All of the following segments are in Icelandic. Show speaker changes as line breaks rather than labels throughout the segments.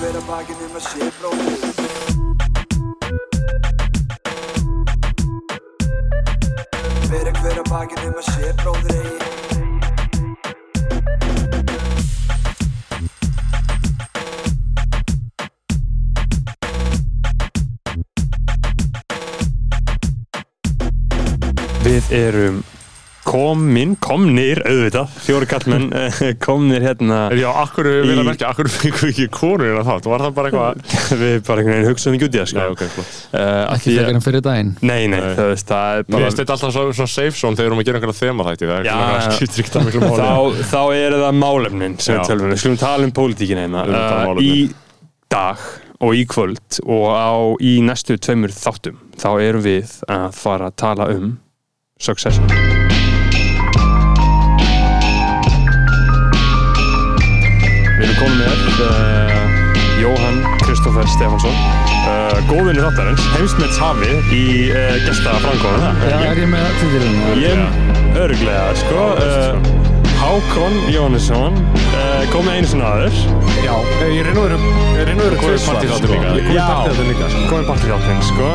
vera bakið nema sé bróðið Vera hver að bakið nema sé bróðir eigi
Við erum komin, komnir, auðvitað, fjóri kallmenn, eh, komnir hérna.
Já, akkur við
Í-
verðum merkja, akkur fengum við ekki konur en það, var það bara eitthvað
Við bara einhvern veginn hugsaðum ekki út í það, sko.
Nei, ok, flott
Uh,
Ekki frekar en fyrir daginn
Nei, nei,
Nei.
þú veist, það er
Mér
bara...
finnst þetta alltaf svo- svona safe zone þegar við erum að gera einhverja þema þætti Það er
Já.
svona skiptir ekki það miklu máli
Þá, þá eru það málefnin sem
Já.
við tölum. Við skulum tala um pólitíkina hérna.
Við erum að tala um
Eh, í dag og í kvöld og á, í næstu tveimur þáttum, þá erum við að fara að tala um Succession. Við erum komin með uh, Jóhann Kristoffer Stefánsson, uh, góðinu þáttarins, heimsmets hafi í uh, gesta frangóðina.
Já, er ég með títilinn?
Ég örglega, sko uh, Hákon Jónesson uh, kom með einu sinna aður
Já,
Ég reynu verið, ég reynu verið
Komið
partíþáttur líka
Ég komið partíðáttin líka sko. Komið partíðáttin, sko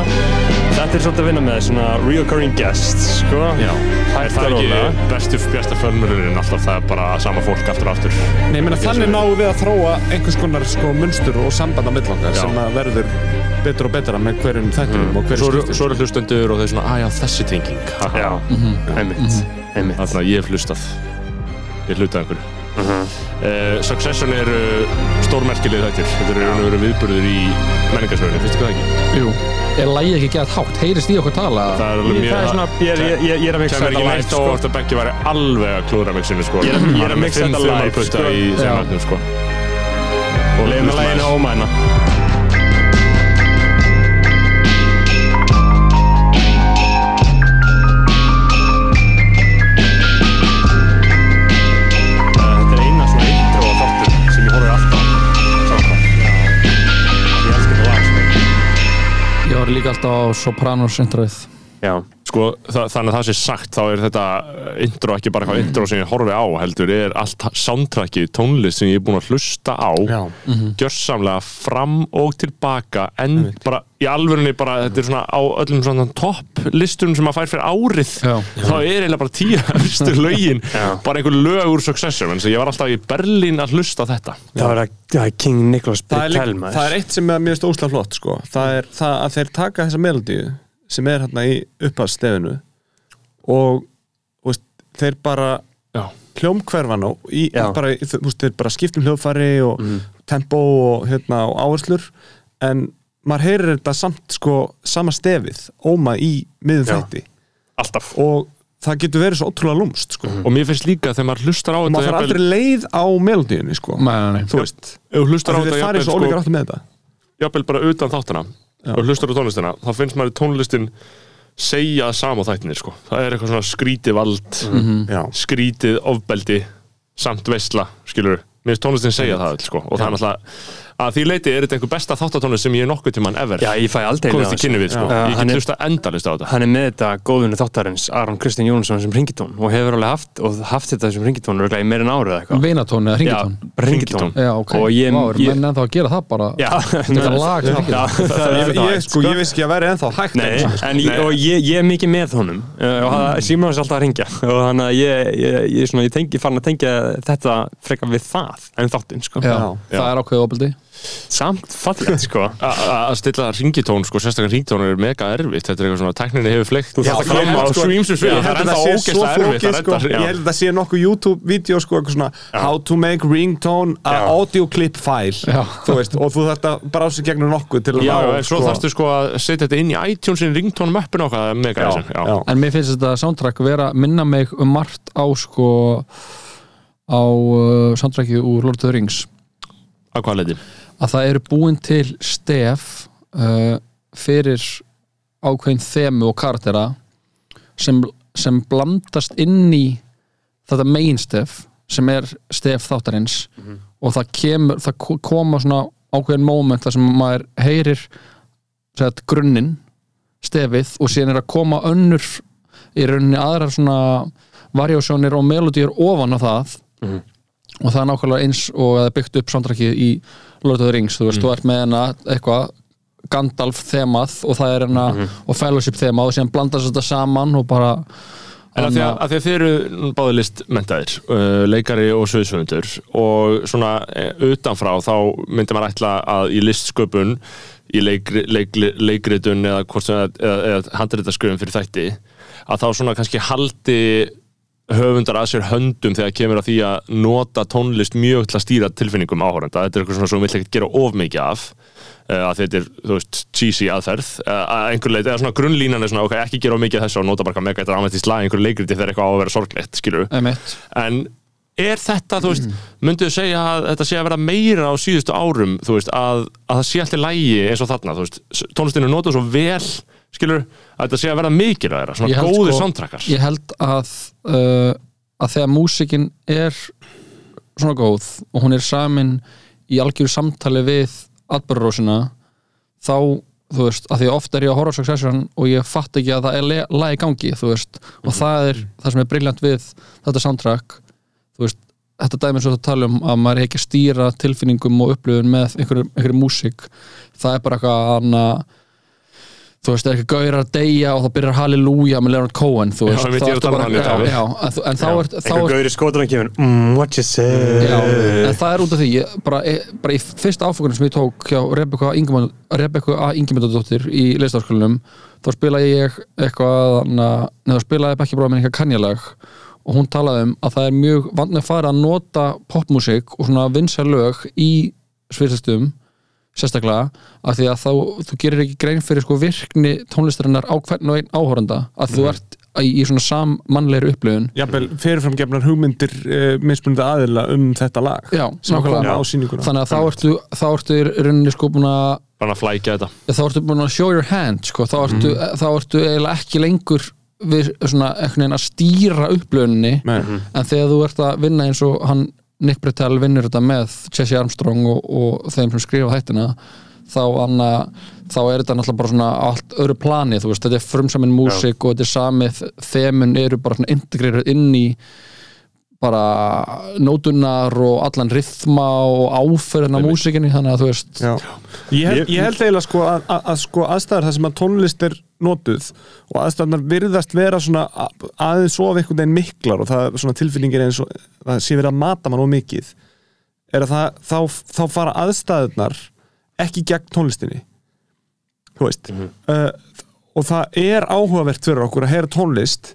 Þetta er svolítið að vinna með svona reoccurring guests, sko
Já, er
Hægt
það
að róla
ekki bestu, besta förmurinn alltaf það er bara sama fólk aftur og aftur
Nei, ég meina þannig náum við að þróa einhvers konar sko munstur og samband á millanga
Já.
sem að verður betur og betra með hverjum þættinum og
Svo
hverjum
eru- Svo eru hlustendur og þau svona, að já, þessi tenging haha."
Já,
Mhm.
einmitt, einmitt
Þannig að ég hef hlustað Ég hlutaði einhverju uh Succession eru stórmerkilegir þættir Þetta eru í raun og veru viðburður í menningarsögunni, finnst þið hvað ekki?
jú Er lægi ekki gett hátt? Heyrist í okkur tala?
Það er alveg
Ég-
mjög
Það er svona, ég, ég, ég, ég er að mixa
Kæmur
þetta
ekki
live,
neitt á
sko
óvart að Beggi væri alveg að klúðra mixinu sko
Ég er- ég er að mixa þetta live,
sko
sko.
í
Já.
þeim efnum sko Og
Leðum að lægina
hlustaði-
ómæna Þetta er eina svona intro að þáttur sem ég horfði alltaf samkvæmt. Ég elska þetta lag, sko.
Ég var líka alltaf á Sopranos introið
Já,
Sko þa þannig að það sé sagt þá er þetta eh, intro ekki bara eitthvað intro sem ég horfi á heldur er allt soundtrackið, tónlist sem ég er búin að hlusta á
Já.
gjörsamlega fram og tilbaka en bara í alvörunni bara þetta er svona á öllum svona topp listum sem maður fær fyrir árið
Já.
þá er eiginlega bara tíu efstu lögin bara einhver lög úr Succession en svo ég var alltaf í Berlín að hlusta á þetta
það var að það er King Nicholas
það, er
Britell
líka-
maður.
það er eitt sem er mjög stóðslega flott sko. það er það að þeir taka þessa melodíu sem er hérna í upphastefinu og þú veist, þeir bara
Já.
hljómkverfan á í,
Já. Mm.
bara, í- þú veist, þeir bara skiptum hljóðfæri og tempó og, hérna, og áherslur en maður heyrir þetta samt sko, sama stefið óma í miðum
Já.
þætti
alltaf.
og það getur verið svo ótrúlega lúmst sko.
og mér finnst líka þegar maður hlustar á
og
Mhm. þetta
maður þarf
jafnvel-
aldrei leið á melodíunni sko.
Nei, nei, nei
þú veist
ef þú hlustar á
þeir
þetta
farið
jafnvel,
svo
sko,
ólíkar áttu með þetta
jafnvel bara utan þáttana og hlustar á tónlistina, þá finnst maður tónlistin segja sama þættinir sko. það er eitthvað svona skrítið vald
Mhm.
Já.
skrítið ofbeldi samt veistla, skilur mér finnst tónlistin
Mhm.
segja það öll, sko. og það er náttúrulega að því leiti er þetta einhver besta þáttatónlist sem ég hef nokkuð tímann ever
Já, ég fæ aldrei
komist í kynni við, sko.
Já.
ég
Hann
get
er-
hlusta endalist á þetta
hann er með þetta góðunni þáttarins Aron Kristinn Jónsson sem ringitón og hefur alveg haft og haft þetta sem ringitón örugglega í meirinn árið eða eitthvað
Veinatón eða ringitón
ringitón
Já, ok
og ég,
Vá, er
ég
menn ennþá að gera það bara
já,
Þetta er lag sem
já,
ringitón
það er
ég,
þetta
ég, sko, ég veist ekki að vera ennþá hægt
Nei,
einu sinni,
en, ég- og ég, ég er mikið með honum uh, og
Mm.
það síma hans alltaf að ringja og þannig að ég, ég, ég, svona, ég tengi, farin að tengja þetta frekar við það en þáttinn sko.
Já,
Já.
það er ákveðið opildi
samt fallið sko.
A- a- að stilla ringitón, sko, sérstaklega ringitón er mega erfitt, þetta er eitthvað svona, tækninni hefur fleikt þú
Já,
þarft að koma á
sko,
svýmsum svið
ég
það er
held að
ennþá
það sé svo
ógeðslega erfitt
flókið,
það er
sko.
enda-
Ég
já.
held að það sé nokkuð YouTube-vídeó sko, eitthvað svona, How to make ringtone a audio clip file
Já.
Þú veist, Og þú þarft að brása í gegnum nokkuð til að
Já,
ná,
en svo þarfstu sko að setja þetta inn í iTunesin ringtónum uppin okkar, það er mega
Já,
þessin já.
já.
En mér finnst þetta soundtrack vera minna mig um margt á sko á uh, soundtrackið úr Lord of the Rings
Að hvað leiti?
að það eru búin til stef uh, fyrir ákveðin þemu og karaktera sem, sem blandast inn í þetta main stef sem er stef þáttarins og það kemur, það ko- koma svona ákveðin moment þar sem maður heyrir sagt, grunnin stefið og síðan er að koma önnur í rauninni aðrar svona varjósjónir og melodíur ofan á það og það er nákvæmlega eins og það er byggt upp soundtrackið í Lord of the Rings þú veist, þú ert með hana eitthvað Gandalf þemað og það er hana og Fellowship þemað og síðan blandast þetta saman og bara
En af því að, af því að þið eru báði list mentaðir, uh, leikari og söðsvöndur og svona eh, utanfrá þá myndi maður ætla að í listsköpun, í leikri, leikri, leikritun eða, hvort sem það- eða, eða handritasköpun fyrir þætti að þá svona kannski haldi höfundar að sér höndum þegar kemur að því að nota tónlist mjög til að stýra tilfinningum áhorenda þetta er eitthvað svona sem við vill ekkert gera of mikið af uh, að þetta er, þú veist, cheesy aðferð uh, að einhver leiti, eða svona grunnlínan er svona, ok, ekki gera of mikið af þessu og nota bara eitthvað mega eitthvað dramatist lag, í einhverju leikriti þegar eitthvað á að vera sorglegt, skilur
emitt
en er þetta, þú veist, mynduðu segja að þetta sé að vera meira á síðustu árum þú veist, að, að það sé alltaf lægi eins og þarna, þú veist, tónlistinu nota svo vel skilur, að þetta sé að vera mikil að þeirra,
Ég
svona
held
góðir
sko-
sko,
ég held að uh, að þegar músikin er svona góð og hún er samin í algjöru samtali við atbyrðurósina þá, þú veist, að því að oft er ég að horfa á succession og ég fatt ekki að það er le- lag í gangi, þú veist,
Mhm.
og það er það sem er briljant við þetta soundtrack þú veist, þetta dæmi svo það tala um að maður er ekki að stýra tilfinningum og upplifun með einhverju, einhverju músík það er bara eitthvað annað þú veist, það er ekki gaurar að deyja og það byrjar halleluja með Leonard Cohen þú
Já,
veist,
ég veit,
þá
ég er
ertu
að tala um hann, ég
já,
tala.
já, en, þú- en þá er þá
einhver
ert-
gaur í skotunum kemur mm, what you say
Já, en það er út af því ég, bara, ég, bara í fyrsta áfókunum sem ég tók hjá Rebecca, Ingimund, Rebecca A. Ingimundardóttir í leistarskólinum þá spilaði ég eitthvað na- nei, þá spilaði Bekki bróða minn eitthvað kannjalag og hún talaði um að það er mjög vant að fara að nota popmusik og svona vinsæl lög í sviðsastum sérstaklega af því að þá, þú gerir ekki grein fyrir sko virkni tónlistarinnar á hvern og einn áhoranda að þú ert í, í svona sammannleiri upplifun
jafnvel fyrirframgefnar hugmyndir uh, mismunandi aðila um þetta lag
Já,
sem
nákvæmlega.
kom á sýninguna
þannig að þá ertu, þá ertu í rauninni sko búin að
bara að flækja þetta
þá ertu búin að show your hand sko, þá, ertu,
Mm.
þá ertu eiginlega ekki lengur við svona einhvern veginn að stýra upplöunni
Nei. Mm-hmm.
en þegar þú ert að vinna eins og hann Nick Britell vinnur þetta með Jesse Armstrong og, og þeim sem skrifa þættina þá, anna, þá er þetta náttúrulega bara svona á allt öðru plani þú veist, þetta er frumsamin músík og þetta er samið þemun eru bara svona integreruð inn í bara nótunar og allan rithma og áferðina músikinni þannig að þú veist
Já. Ég, held, ég held eiginlega sko að, að, að sko aðstæðar þar sem að tónlist er notuð og aðstæðarnar virðast vera svona að- aðeins of einhvern veginn miklar og það svona tilfinningir eins og það sé verið að mata mann of mikið er að það, þá, þá fara aðstæðarnar ekki gegn tónlistinni þú veist uh, og það er áhugavert fyrir okkur að heyra tónlist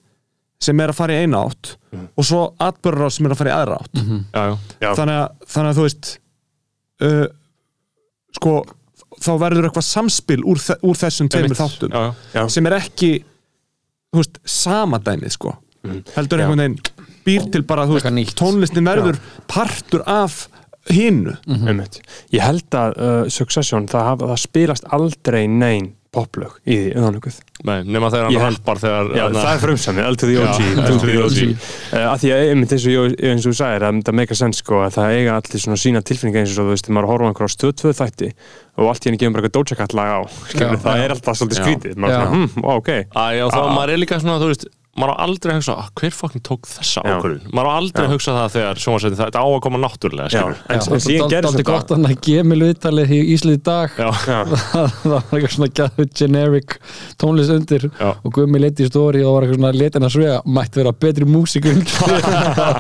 sem er að fara í eina átt og svo atbörur sem er að fara í aðra átt
já, já.
Já.
þannig að, þannig að þú veist uh, sko þá verður eitthvað samspil úr, þe- úr þessum tveimur þáttum
já, já.
Já.
sem er ekki þú veist, samadæmið sko
Mm.
heldur einhvern veginn býr til bara þú
Eitthvað
veist,
nýtt.
tónlistin verður partur af hinnu
Mhm.
Mm.
Einmitt. Ég held að uh, Succession, það, hafa, það spilast aldrei nein poplög í því öðanlökuð.
Nei, nema þegar hann
Ég-
rampar þegar
Já,
þarna-
það er frumsamið, L to the OG.
Já,
L to the
LTOG.
OG. Uh, að því að einmitt eins og, ég- eins og þú sagir, að það meika sens sko að það eiga allir svona sína tilfinninga eins og þú veist, þegar maður horfum einhverja á stöð 2 þætti og allt í henni gefum bara eitthvað Doja-katt lag á. Skilur,
Já.
það er alltaf svolítið
Já.
skrítið. Maður er
Já.
svona, hm, wow, ok.
Æ, já, þá
Ah.
maður er líka svona, þú veist maður á aldrei að hugsa, "Ah, hver fokkin tók þessa
Já.
ákvörðun, maður á aldrei að hugsa það þegar sjónvarsveitin, þetta á að koma náttúrulega
Já,
skilur.
en, en síðan
það er
gerðist
alltaf gott
þetta.
hann að gemil viðtalið í Íslið í dag
Já.
Já,
það var eitthvað svona gæðu generic tónlist undir
Já.
og Gummi leti í stóri og var eitthvað svona letin að svega mætti vera betri músík undir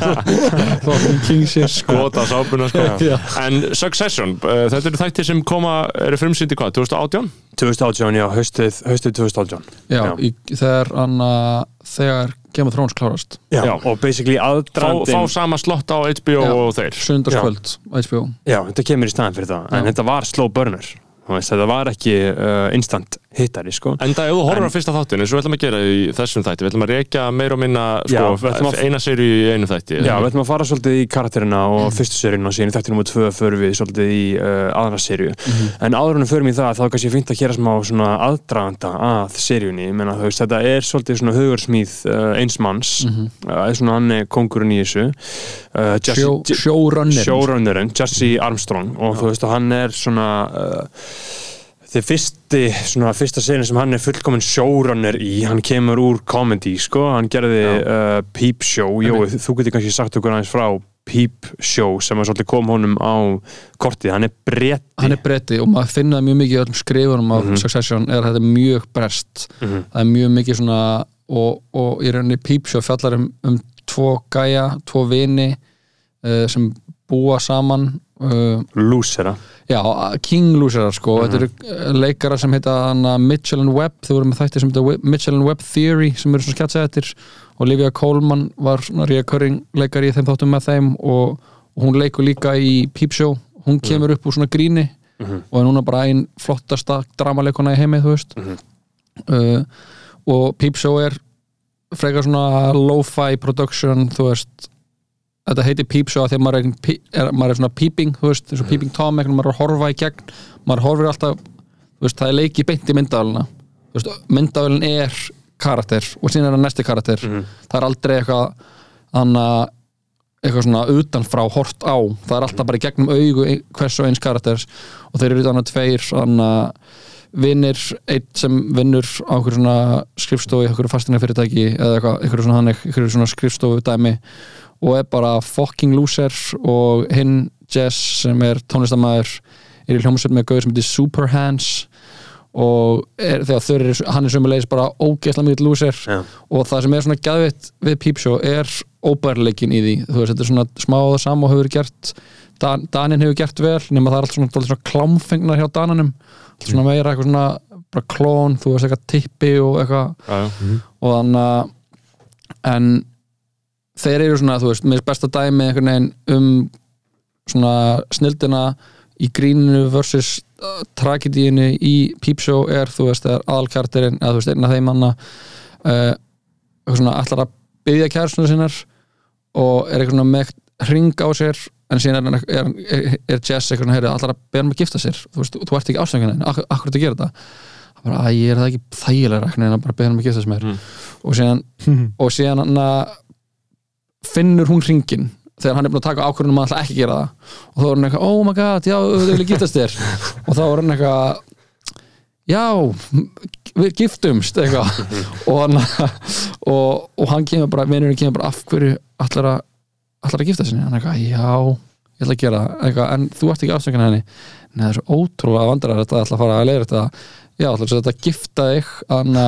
þá hún king sér sko
Gota sápuna sko
Já.
En Succession, uh, þetta eru þættir sem koma eru frumsýndi hvað, 2018?
2018, já, haustið, haustið 2018.
já, í, þegar hann að- þegar Game of Thrones klárast
Já.
Já.
og basically
Fá,
aðdrandin
fá sama slott á HBO
Já.
og þeir
sundarskvöld HBO
Já, þetta kemur í staðin fyrir það, en þetta var slow burner Þú veist, þetta var ekki uh, instant hittari, sko
Enda ef þú horfður á fyrsta þáttin, eins og við ætlum að gera í þessum þætti, við ætlum að rekja meira og minna sko,
Já, við ætlum að-
eina séri í einu þætti
Já, við ætlum að fara svolítið í karakterina og fyrstu seríun og síðan í þætti nr. 2 förum við svolítið í uh, aðra seríu en áður en við förum í það, þá er kannski fínt að gera smá svona aðdraganda að seríunni ég meina, þú veist, þetta er svolítið svona hugursmíð uh, eins manns mm svona hann er kongurinn í þessu uh, Jesse-
Sjó-
Je-
showrunner
showrunnerinn, Jesse Armstrong og þú veist, og hann er svona uh, þegar fyrsti, svona, fyrsta senin sem hann er fullkominn showrunner í hann kemur úr comedy, sko, hann gerði uh, Peep Show, jó, þú getur kannski sagt okkur aðeins frá Peep Show sem að svolítið kom honum á kortið, hann er bretti
hann er bretti og maður finna það mjög mikið í öllum skrifunum af Succession er að þetta er mjög brest það er mjög mikið svona og, og í rauninni pípsjó fjallar um, um tvo gæja, tvo vini uh, sem búa saman uh,
lúsera
já, King Loserar sko þetta eru leikara sem heita hana Mitchell and Webb, þau voru með þætti sem heita We- Mitchell and Webb Theory sem eru svona skjatsað eftir Olivia Colman var svona reoccurring leikari í þeim þáttum með þeim og, og hún leikur líka í pípsjó hún kemur upp úr svona gríni og er núna bara einn flottasta dramaleikona í heimi, þú veist uh, og Peepshow er frekar svona lo-fi production, þú veist þetta heitir Peepshow að því að maður er, pí- er, maður er svona peeping, þú veist, eins og peeping tom ekkert maður er að horfa í gegn, maður horfir alltaf þú veist, það er leiki beint í myndavælina þú veist, myndavælin er karakter og síðan er það næsti karakter það er aldrei eitthvað annað eitthvað svona utanfrá hort á það er alltaf bara í gegnum augu ein- hvers og eins karakters og þeir eru þannig tveir svona vinnir, einn sem vinnur á einhverju svona skrifstofu í einhverju fastinafyrirtæki eða eitthvað, einhverju svona, þannig, einhverju svona skrifstofu dæmi og er bara fucking loser og hinn Jess sem er tónlistamæður er í hljómsveit með gauð sem heitir Superhands og er, þegar þau eru, hann er sömulegis bara ógeðslega mjög loser
Já.
og það sem er svona gæðvitt við Peepshow er óbærleikin í því þú veist, þetta er svona smá og það sama og hefur verið gert Dan, Danin hefur gert vel nema það er allt svona, dálítið svona klámfengna hjá Dananum allt svona meira eitthvað svona bara klón, þú veist eitthvað tippi og eitthvað og þannig að en þeir eru svona, þú veist, mér er besta dæmi einhvern veginn um svona snildina í gríninu versus uh, tragedíinu í Peepshow er, þú veist, þegar aðalkartirinn, eða þú veist, einn af þeim manna uh, svona allar að byggja kærstuna sinnar og er eitthvað svona með hring á sér en síðan er, er, er, er Jess eitthvað svona, heyrðu, allar að beða hann um að gifta sér þú veist, þú ert ekki ástöngin henni, akkur, akkur þetta gera þetta bara, æ, ég er það ekki þægilega rækni en að bara beða hann um að giftast mér
Mm.
og síðan, og síðan hann að finnur hún ringin þegar hann er búin að taka ákvörðunum að alltaf ekki gera það og þá er hann eitthvað, oh my god, já, þau vilja giftast þér og þá er hann eitthvað já, við giftumst eitthvað og, hann, og, og hann kemur bara, vinurinn kemur bara af hverju allar að, allar að gifta sinni hann eitthvað, já, ég ætla að gera það eitthvað, en þú ert ekki ástöngin henni Nei, það er svo ótrúlega vandrar þetta ætla að fara að leiða þetta Já, ætla að þetta gifta þig anna,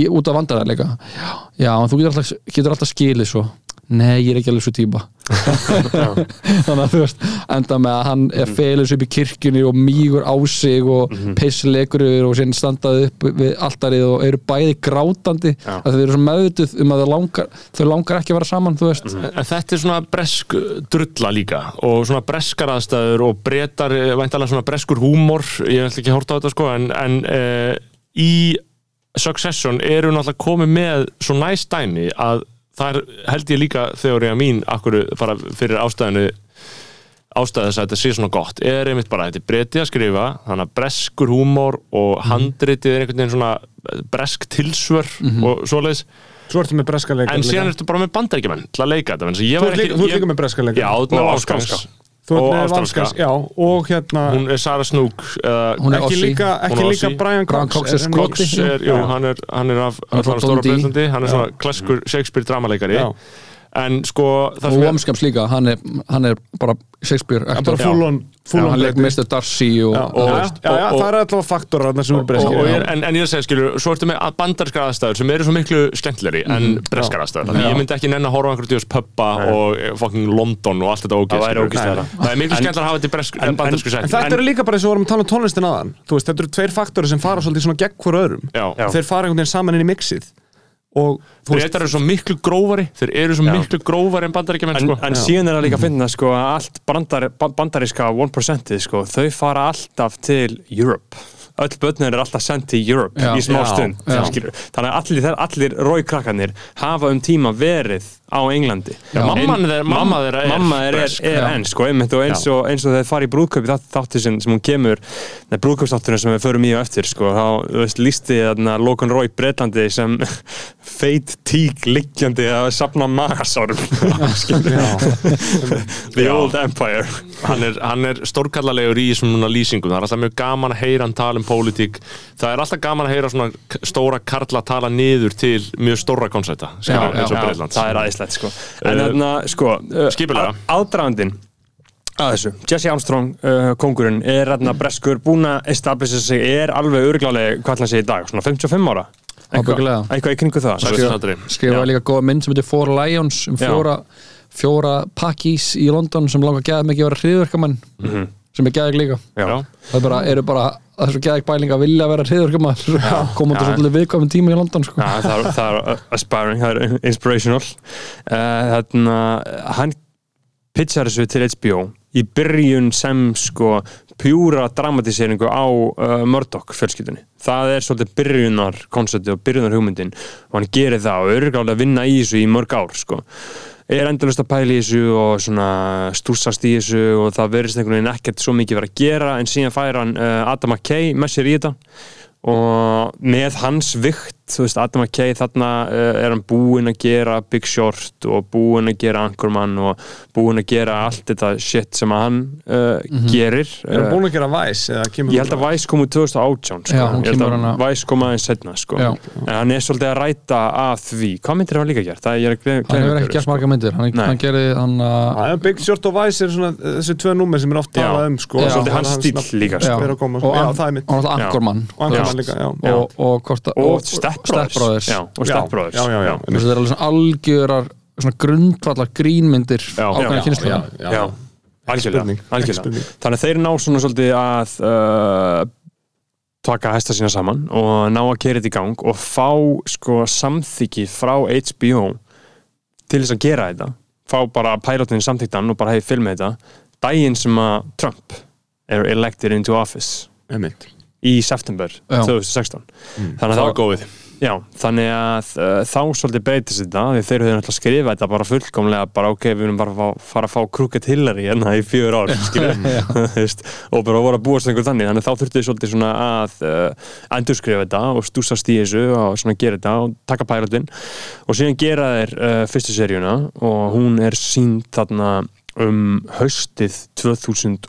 í, út af vandrarleika Já, já en þú getur alltaf, getur alltaf skilið svo Nei, ég er ekki alveg svo típa Þannig að þú veist enda með að hann er felins upp í kirkjunni og mýgur á sig og mm -hmm. pissleikur yfir og síðan standað upp við alltarið og eru bæði grátandi
Já.
að þau eru svo meðutuð um að þau langar þau langar ekki að vera saman, þú veist
En Mm. þetta er svona bresk drulla líka og svona breskar aðstæður og breytar, væntalega svona breskur húmor ég ætla ekki að horta á þetta sko en, en uh, í Succession eru náttúrulega komið með svo næst dæmi að þar held ég líka þegar ég að mín akkur fara fyrir ástæðinu ástæða þess að þetta sé svona gott er einmitt bara að þetta er breyti að skrifa þannig að breskur húmor og handritið er einhvern veginn svona bresk tilsvör og svoleiðis
Svo ertu með breska leikar
en síðan
líka.
ertu bara með bandaríkjumenn til að leika þetta þú
Þú ert líka- þú ert líka með breska leikara.
já, og,
Og
og
ástralska.
ástralska
Þú
og
ert með
ástralska
vanskans, já, og hérna
hún er Sara Snook
Hún
uh,
er
ekki
Aussie.
líka,
Hún
ekki
er
líka
Aussie.
Brian
Brian
Cox,
Cox er
hann
Cox
ekki-
Cox er, jú,
Já.
hann er, hann er af
Hann er frá
allan stóra
Dundee.
bretlandi hann er svona klaskur Shakespeare dramalekari
Mm. Já.
en sko það
og
sem er
Womskams líka, hann er, hann er bara Shakespeare
Já,
actor
bara full on, full
Já,
on
hann leik
breyti.
Mr. Darcy og,
Já,
og,
já, já, já,
og-
það er alltaf faktor þarna sem er
og,
breski
og
já.
ég er, en, en ég er að segja skilur, svo ertu með að bandarskar aðstæður sem eru svo miklu skemmtilegri
Mhm.
en breskar aðstæður þannig að ég myndi ekki nenn að horfa á einhverju djós pubba og eh, fucking London og allt þetta ógeð
væri
skilur.
ógeðslega.
Nei. það er miklu skemmtilega að hafa þetta í bresk,
en-
bandarsku
En
setting
þetta eru líka bara eins og við vorum að tala um tónlistin aðan Þú veist, þetta eru tveir faktori sem fara svolítið svona gegn hver öðrum
Já. Já.
Þeir fara einhvern veginn saman inn í mixið Og þú veist,
Breytar eru svo miklu grófari Þeir eru svo miklu grófari en bandaríkjumenn
en,
sko.
en síðan er það líka að finna sko, að allt bandar, ba- bandaríska 1% sko, þau fara alltaf til Europe öll börnir er alltaf sendt til Europe
Já.
í smá
Já.
stund
Já.
skilur. þannig að allir, þeir- allir róikrakkanir hafa um tíma verið á Englandi
Já, mamman
Ein-
þeirra- mamma þeirra er
mamma þeirra er,
bresk.
er,
Já.
enn sko, einmitt, og eins,
Já.
og eins og þeir fara í brúðkaupi þátt, þáttir sem, sem hún kemur neð, brúðkaupstátturinn sem við förum í og eftir sko, þá þú veist, lísti þarna Logan Roy Breitlandi sem feit tík liggjandi að safna magasárum skilur. The Old Empire
hann er, hann er stórkallalegur í svona lýsingum, það er alltaf mjög gaman að heyra hann tala um pólitík, það er alltaf gaman að heyra svona k- stóra karla tala niður til mjög stóra konserta
Já,
eins og
Já,
Breitlands
það er aðeinslegt sko en
Eh,
þarna sko uh,
skipulega.
a- aðdragandinn að þessu Jesse Armstrong, uh, kongurinn er þarna breskur, búin að establisha sig er alveg örglálega hvað hann sé í dag svona 55 ára
Ábyggilega.
eitthvað í kringu það
Sá- Sandri.
skrifaði líka góða mynd sem heitir Four Lions um
Já.
fjóra, fjóra pakkís í London sem langar gæðið mikið að vera hriðverkamann
Mhm.
sem er gæðið líka
já.
Já.
það bara, eru bara það er svo gæðið bæling að vilja vera hriðverkamann komum þetta
Já.
svolítið viðkvæmum tíma í London sko.
Já, það, er, það er aspiring, það er inspirational uh, þarna, hann pitchar þessu til HBO í byrjun sem sko pjúra dramatiseringu á uh, Murdoch fjölskyldunni. Það er svolítið byrjunar konceptið og byrjunar hugmyndin og hann gerir það og örgrálega að vinna í þessu í mörg ár sko. Er endalust að pæla í þessu og svona stúrsast í þessu og það verðist einhvern veginn ekkert svo mikið verið að gera en síðan fær hann uh, Adam McKay með sér í þetta og með hans vikt, þú veist, Adam McKay þarna uh, er hann búinn að gera Big Short og búinn að gera Anchorman og búinn að gera allt þetta shit sem að hann uh,
Mhm.
gerir
Er hann
uh,
búin að gera væs?
ég held að Vice kom úr 2018 sko.
Já, hún
ég held
kemur hann
að
að-
Vice kom aðeins setna sko.
Já.
en hann er svolítið að ræta að því hvað myndir hann líka gert? Það er ég er að gleyma-
hann hefur
gleyma
ekki
einhverju,
gert marga myndir hann,
sko. Nei.
hann gerði hann uh, að
Æ, Big Short og Vice er svona uh, þessi tvö númer sem er oft
Já.
talað um sko.
Já.
Það
Svolítið
er
hans stíll
nafn-
líka, sko.
Já, er að koma, sko.
og
Já,
hann-
það er mitt
hann var alltaf
Já.
Ankormann
Og hann
Já.
kom líka, já
Já.
og, og, hvort að-
og Step Brothers,
Brothers.
Já, og
Já,
Step Brothers
já, já, já.
Þú veist, þetta er alveg svona algjörar svona grundvallar grínmyndir
Já.
ákveðin
Já.
kynnslóða
Já.
Já, algjörlega,
spurning, ekki
algjörlega.
spurning.
Þannig að þeir ná svona svolítið að uh, taka hæsta sína saman og ná að kera þetta í gang og fá sko samþyggi frá HBO til þess að gera þetta fá bara pælotinu samþyktan og bara hefði film þetta daginn sem að Trump er elected into office
Einmitt.
í september
Já.
2016 þannig
það
að
var
þá,
góðið
já, þannig að uh, þá svolítið breytist þetta því þeir höfðu náttúrulega skrifað þetta bara fullkomlega bara ok, við erum bara að fá- fara að fá krúket Hillary hérna í fjör ár skilur. Þú veist, og bara voru að búast einhver þannig þannig að þá þurftu þau svolítið svona að uh, endurskrifa þetta og stúsast í þessu og svona gera þetta og taka pælutinn og síðan gera þeir uh, fyrstu seríuna og hún er sínd þarna um haustið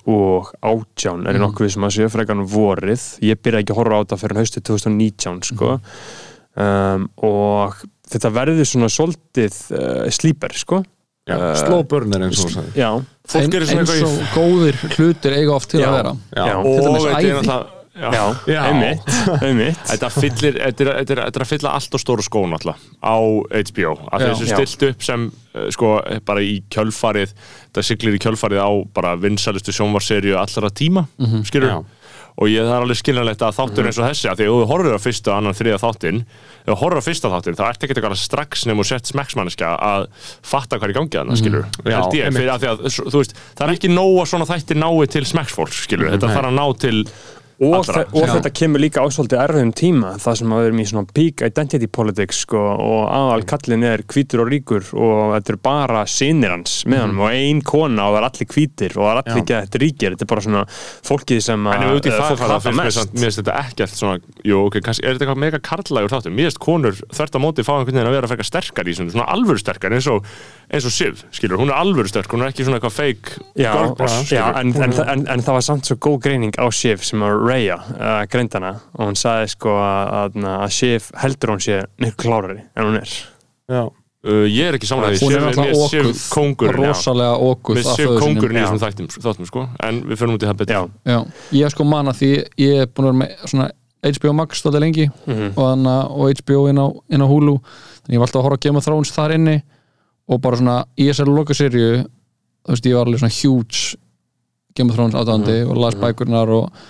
2018 er ég nokkuð sem að séu frekarn vorið ég byrja ekki að horfa á þetta fyrir haustið 2019 sko um, og þetta verður svona svolítið uh, slíper sko
Já. Eh, Slow burner eins og þú sagði
já,
fólk gerir svona
eins
eitthvað
og
í-
góðir hlutir eiga oft til
Já.
að vera
Já.
já,
og
til dæmis
þetta
æði.
er náttúrulega Já.
já,
Já.
einmitt, einmitt.
Þetta fyllir, þetta er, þetta, er, þetta er að fylla allt og stóru skónu alltaf á HBO að
Já.
þessu
Já.
stilt upp sem eh, sko bara í kjölfarið það siglir í kjölfarið á bara vinsalistu sjónvarserju allra tíma mm
Já.
og ég, það er alveg skiljanlegt að þáttur eins og þessi að því að þú horfir á fyrsta, annan, þriða þáttin ef þú horfir á fyrsta þáttin þá ert ekki eitthvað strax nefnum og sett smekksmanniska að fatta hvað er í gangi þarna, skilur
Já,
held ég,
einmitt.
fyrir að því að, svo- þú veist, það er ekki nóg að svona þættir nái til smekksfólk, skilur þetta þarf að ná til
og,
allra.
þe og þetta kemur líka á svolítið erfiðum tíma það sem að við erum í svona peak identity politics sko, og aðal kallin er hvítur og ríkur og þetta er bara sinir hans með
Mhm.
hann og ein kona og það er allir hvítir og það er allir
Já.
ekki að þetta ríkir þetta er bara svona fólkið sem að
En ef við út í
eh,
það,
fólk
það,
hafa
finnst mér samt, mér finnst þetta ekkert svona, jú, ok, kannski, er þetta eitthvað mega karlægur þáttum? Mér finnst konur þvert á móti fá einhvern veginn að vera frekar sterkar í svona, svona alvöru sterkar, eins og, eins og Siv, skilur, hún er alvöru sterk, hún er ekki svona eitthvað feik
Já,
girlboss,
já
skilur.
en, en, þa- en, en það var samt svo góð greining á Sif sem að Raya uh, greindana og hún sagði sko að, að, að Sif heldur hún sé miklu klárari en hún er
Já.
Uh, ég er ekki samanlega,
hún er
mér
náttúrulega
Siv
ókuð
kongurinn, já.
rosalega ókuð
Mér
að
Siv
föður sínum
kongurinn í
Já.
þessum þættum, þáttum, sko, en við förum út í það betur.
Já,
já. ég sko man að því ég er búin að vera með svona HBO Max stóðið lengi
Mhm.
og, þannig, að- og HBO inn á, inn á Hulu þannig ég var alltaf að horfa á Game of Thrones þar inni og bara svona í þessari lokaserju þú veist ég var alveg svona huge Game of Thrones aðdæðandi
Mhm.
og las bækurnar og,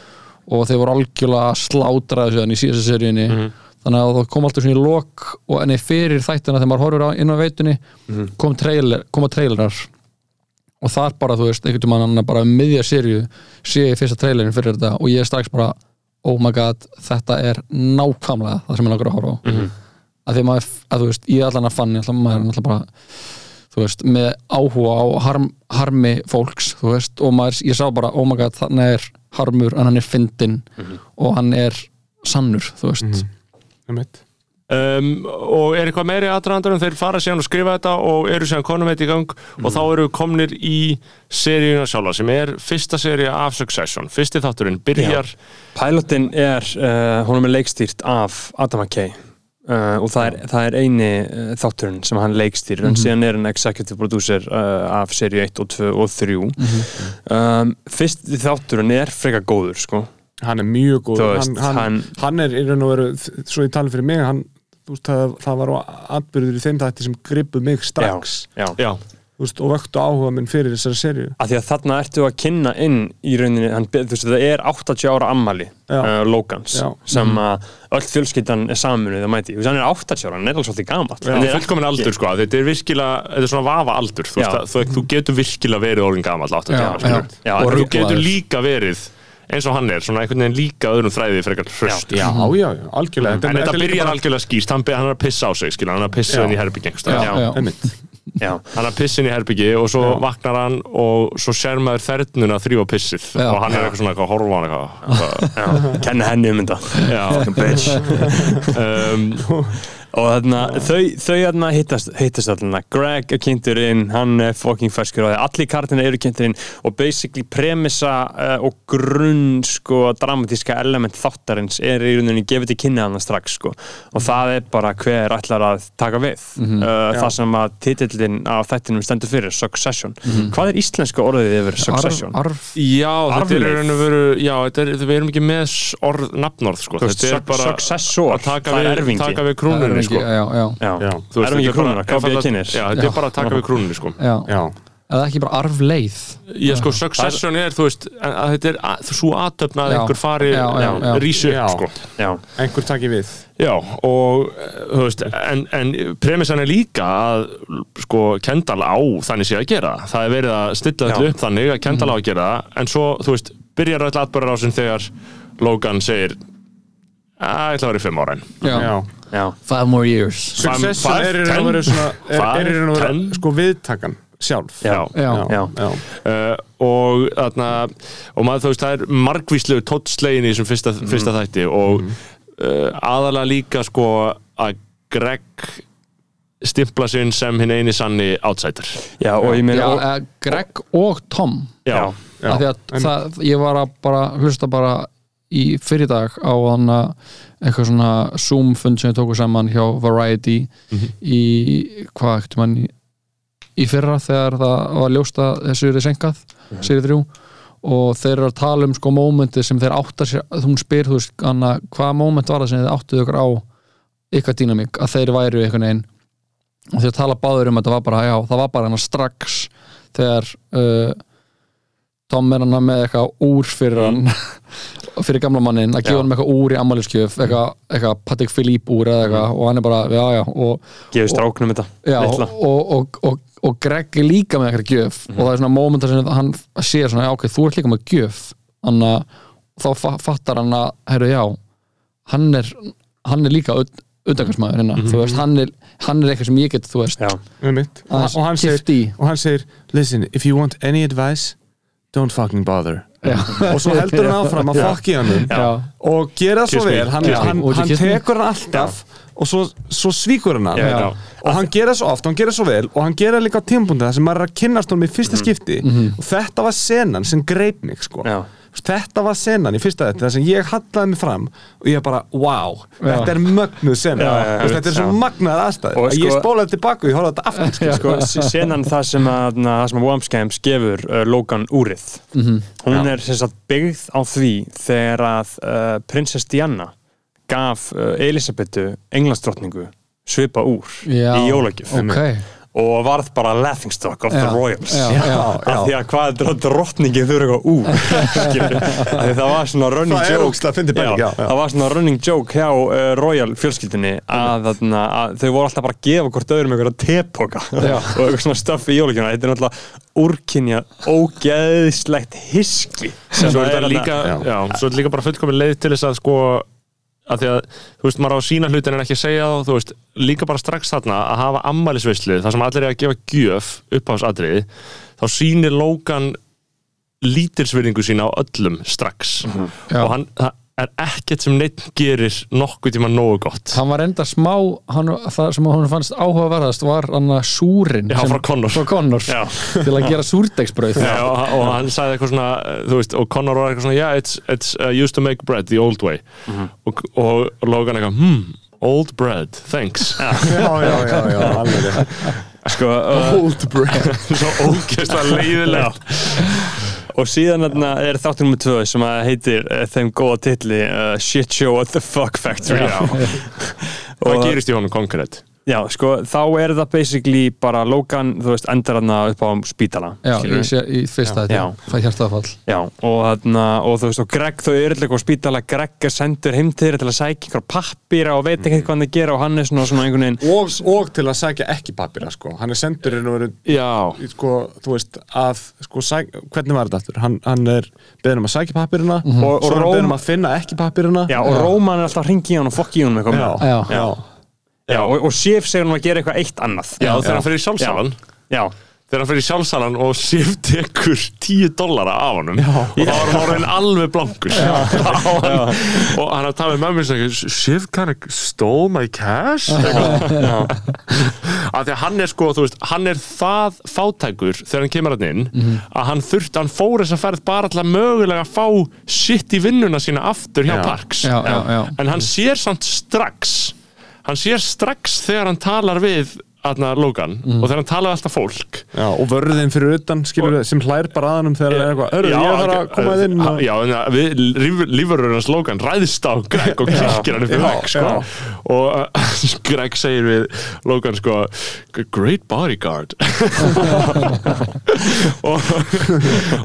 og þeir voru algjörlega að slátra þessu þannig í síðasta seríunni
Mhm.
þannig að það kom alltaf svona í lok og enni fyrir þættina þegar maður horfir á, inn á veitunni
Mhm.
kom trailer, koma trailerar og þar bara þú veist einhvern tímann annar bara um miðja sériu sé ég fyrsta trailerin fyrir þetta og ég er strax bara oh my god, þetta er nákvæmlega það sem ég langar að horfa á að því að maður, að þú veist, ég er allan að fann ég ætla, maður er náttúrulega bara þú veist, með áhuga á harm, harmi fólks, þú veist, og maður ég sá bara, oh my god, þannig er harmur en hann er fyndinn og hann er sannur, þú veist
Einmitt.
um, og er eitthvað meiri aðdraðandur en þeir fara síðan og skrifa þetta og eru síðan konum þetta í gang og þá eru við komnir í seríuna sjálfa sem er fyrsta seríu af Succession fyrsti þátturinn byrjar
Pilotin er, uh, honum er leikstýrt af Adam McKay uh, og það er, það er eini uh, þátturinn sem hann leikstýrir en síðan er hann executive producer uh, af seríu 1 og 2 og 3 um, Fyrst þátturinn er frekar góður sko
hann er mjög góð
Þú veist,
hann, hann, hann,
hann-
er í raun og veru svo ég tala fyrir mig hann, þú veist, það, það var á atbyrður í þeim þætti sem gripu mig strax
Já, já.
já,
þú veist, og vöktu áhuga minn fyrir þessari serju
Af því að þarna ertu að kynna inn í rauninni, hann, þú veist, það er 80 ára ammali
Já.
uh, Logans
Já. Mhm.
sem að öll fjölskyldan er saminuð að mæti, þú veist, hann er 80 ára, hann er alveg svolítið gamall
já fullkomin aldur sko þetta er virkilega, þetta er svona vafa aldur þú,
Já.
veist, að, þú, þú getur virkilega verið orðin gamall 80 ára
já.
skilur.
Já,
og
en
þú getur
ruglaður.
líka verið eins og hann er, svona einhvern veginn líka öðrum þræði frekar hröst
já, já, já, algjörlega
Mhm. en þetta
er líka
byrjar
bara-
algjörlega skýrst, hann, be- hann er að pissa á sig skilur, hann er að pissa
Já.
inn í herbyggi einhvers
já,
staðar.
já,
Einmitt.
Já,
hann er að pissa inn í herbyggi og svo vaknar hann og svo sér maður þernuna þrýfa pissið
Já.
og hann er eitthvað svona eitthvað að horfa á hann eitthvað
já, kenna henni um þetta
Já.
Fucking bitch
um,
og þarna, þau, þau þarna hittast, hittast þarna, Greg er kynntur inn hann er fucking ferskur á því, allir kartina eru kynntur inn og basically premissa uh, og grunn sko dramatíska element þáttarins er í rauninni gefið til kynna hann strax sko og það er bara hver ætlar að taka við
Mhm.
uh, það sem að titillin á þættinum stendur fyrir, Succession
Mhm.
hvað er íslenska orðið yfir
Arf,
Succession?
arf
já, þetta er
Arfleifð.
í raun og veru já, þetta er, við erum ekki með s- orð, nafnorð sko.
Þú veist,
þetta er
suc-
bara
successor,
að taka
það er
við,
erfingi.
taka við
Það er
krúnunni
ekki-
sko.
já, já,
Já,
Já.
Þú veist,
erum
þetta
ekki
er bara
krúnuna, KBA
einfalda-
kynir
já, þetta er bara að taka við krúnunni sko.
já.
já,
eða ekki bara arfleið
Já, sko, succession er, þú veist, að að þetta er að- svo aðtöfna að
Já.
einhver fari
Já, já, já.
rísu
Já.
upp, sko.
já,
einhver taki við
Já, og, eh, þú veist, en, en premissan er líka að, sko, Kendall á þannig sé að gera. það. Það er verið að stilla
Já.
þetta upp þannig að Kendall á að gera, það, en svo, þú veist, byrjar öll atbörðarásin þegar Logan segir, að, ég ætla að vera í fimm ára en.
já.
já.
já.
five more years
Succession
five,
er í raun og veru
ten,
svona er, er í raun og veru
five,
sko viðtakan sjálf
Já.
já,
já,
Já.
já.
uh, og þarna og maður þú veist það er margvíslegu tótslegin í þessum fyrsta, fyrsta þætti og uh, aðalega líka sko að Greg stimpla sinn sem hinn eini sanni outsider
já, og ég meina
já, eh,
og-
eða Greg og Tom
já,
Já.
af því að
En-
það, ég var að bara hlusta bara í fyrir dag á hann eitthvað svona Zoom fund sem ég tóku saman hjá Variety
Mhm.
í hvað ekkert mann í, í fyrra þegar það var ljósta þessu er senkað, mm þrjú og þeir eru að tala um sko mómenti sem þeir áttar sér, hún spyr þú veist hana, hvaða móment var það sem þið áttuðu ykkur á ykkar dýnamík, að þeir væru einhvern veginn og þeir tala báður um að það var bara, já, það var bara hann strax þegar uh, Tom er hann með eitthvað úr fyrir hann fyrir gamla mannin að gefa
Já.
hann eitthvað úr í ammæliskjöf eitthvað, eitthvað Patek Philippe úr eða eitthvað og hann er bara, já já og,
gefið stráknum þetta
já, og,
litla.
og, og, og, Greg er líka með eitthvað gjöf og það er svona mómentar sem hann sér svona, já ok, þú ert líka með gjöf þannig að þá fa- fattar hann að herru já, hann er hann er líka auðvitaðkvæmsmaður hérna, þú veist, hann er, hann er eitthvað sem ég get þú veist,
já,
Einmitt. og
aðeins
og hann segir
kippt í
og hann segir, listen, if you want any advice don't fucking bother
Já.
og svo heldur hann áfram að fuck í hann um.
Já.
og gera svo
Kiss me,
vel hann,
kiss me.
hann,
Would you
hann
kiss me?
tekur hann alltaf og svo, svo svíkur hann hann
Já, já.
og hann gera svo oft, hann gera svo vel og hann gera líka á tímpundi það sem maður er að kynnast honum í fyrsta skipti og þetta var senan sem greip mig sko.
Já.
þetta var senan í fyrsta þetta sem ég hallaði mig fram og ég bara, wow, þetta er mögnuð
Já,
senan
já, já,
Þú veist, þetta er svo
já.
magnaðar aðstæði
Og
að ég
sko-
spólaði tilbaka og ég horfði á þetta aftur sko.
sko, senan það sem að, na, það sem að Wamscams gefur uh, Logan úrið
Mhm.
hún er sem sagt byggð á því þegar að uh, prinsess Diana gaf uh, Elisabetu englandsdrottningu svipa úr
Já.
í jólagjöf
ok,
og varð bara laughingstock of the
Já,
royals
já, já,
af því að hvað er drottningi þurfa eitthvað úr skilurðu? Af því það var svona running
Það er
joke
ógeðslega fyndið pæling, já, já.
það var svona running joke hjá uh, royal fjölskyldinni að, að, að þau voru alltaf bara að gefa hvort öðrum einhverja tepoka og eitthvað svona stöffi í jólíkjuna þetta er náttúrulega úrkynja ógeðslegt hiski sem það
svo er þetta
þarna-
líka,
Já.
já. svo er þetta líka bara fullkomin leið til þess að sko að því að, þú veist, maður á að sína hlutin en ekki að segja þá, þú veist, líka bara strax þarna að hafa ammælisveislu, þar sem allir er að gefa gjöf uppáðsadriði, þá sýnir Logan lítilsverðingu sína á öllum strax
Já.
og hann, það, er ekkert sem neitt gerir nokkuð tíma nógu gott
hann var enda smá hann, það sem hún fannst áhugaverðast var hann að súrin
Já,
sem,
frá Connor.
frá Connor
Já.
til að gera súrdegsbrauð
Já, og, og hann sagði eitthvað svona eh, þú veist, og Connor var eitthvað svona yeah, it's, it's uh, used to make bread the old way og, og Logan eitthvað hmm, old bread, thanks
já, já, já, já, alveg rétt.
sko, uh,
old bread svo ógeðslega leiðilegt
og síðan þarna er þáttur nummer 2 sem að heitir uh, þeim góða titli uh, Shit Show at the Fuck Factory
Já.
Og-
hvað gerist í honum konkrétt?
Já, sko, þá er það basically bara Logan, þú veist, endar hann upp á spítala
Já,
skilurðu?
ég sé í fyrsta
Já.
þetta, fæ hjartafall
Já, og, þarna, og þú veist, og Greg þau eru eitthvað á spítala, Greg er sendur heim til þeirra til að sækja einhver pappýra og veit
Mm.
ekki hvað hann er að gera og hann er svona, svona einhvern veginn
og, og til að sækja ekki pappira sko. hann er sendur en veru
já,
í, sko, þú veist að sko, sæk, hvernig var þetta aftur hann, hann er beðin um að sækja pappirina og,
Og- og
svo er hann beðin
Róm-
um að finna ekki pappirina
Já, og Róman er alltaf að hringi í hann og fokki í hann með
já,
komið
Já.
já.
Já, og, og Sif segir hann að gera eitthvað eitt annað
já, þegar hann fyrir í sjálfsalan
Já,
þegar hann fyrir í sjálfsalan og Sif tekur 10 dollara af honum já. og þá var hann orðin alveg blankur Þá var hann, og hann að tala með mér sem ekki, Sif kind of stole my cash eitthvað. að því að hann er sko þú veist, hann er það fátækur þegar hann kemur hann inn
Mhm.
að hann þurft, hann fór þess að ferð bara til að mögulega fá sitt í vinnuna sína aftur hjá Parks
Já, já, já.
en hann sér samt strax hann sér strax þegar hann talar við Arna Logan
Mhm.
og þegar hann talar við alltaf fólk
Já, og vörðin fyrir utan skilur við sem hlær bara að hann þegar það er eitthvað örðu, ég þarf að koma að inn og...
já, en að við, lífurur hans Logan ræðist á Greg og kirkir hann upp í
Já,
vekk sko.
já.
og uh, Greg segir við Logan sko great bodyguard og,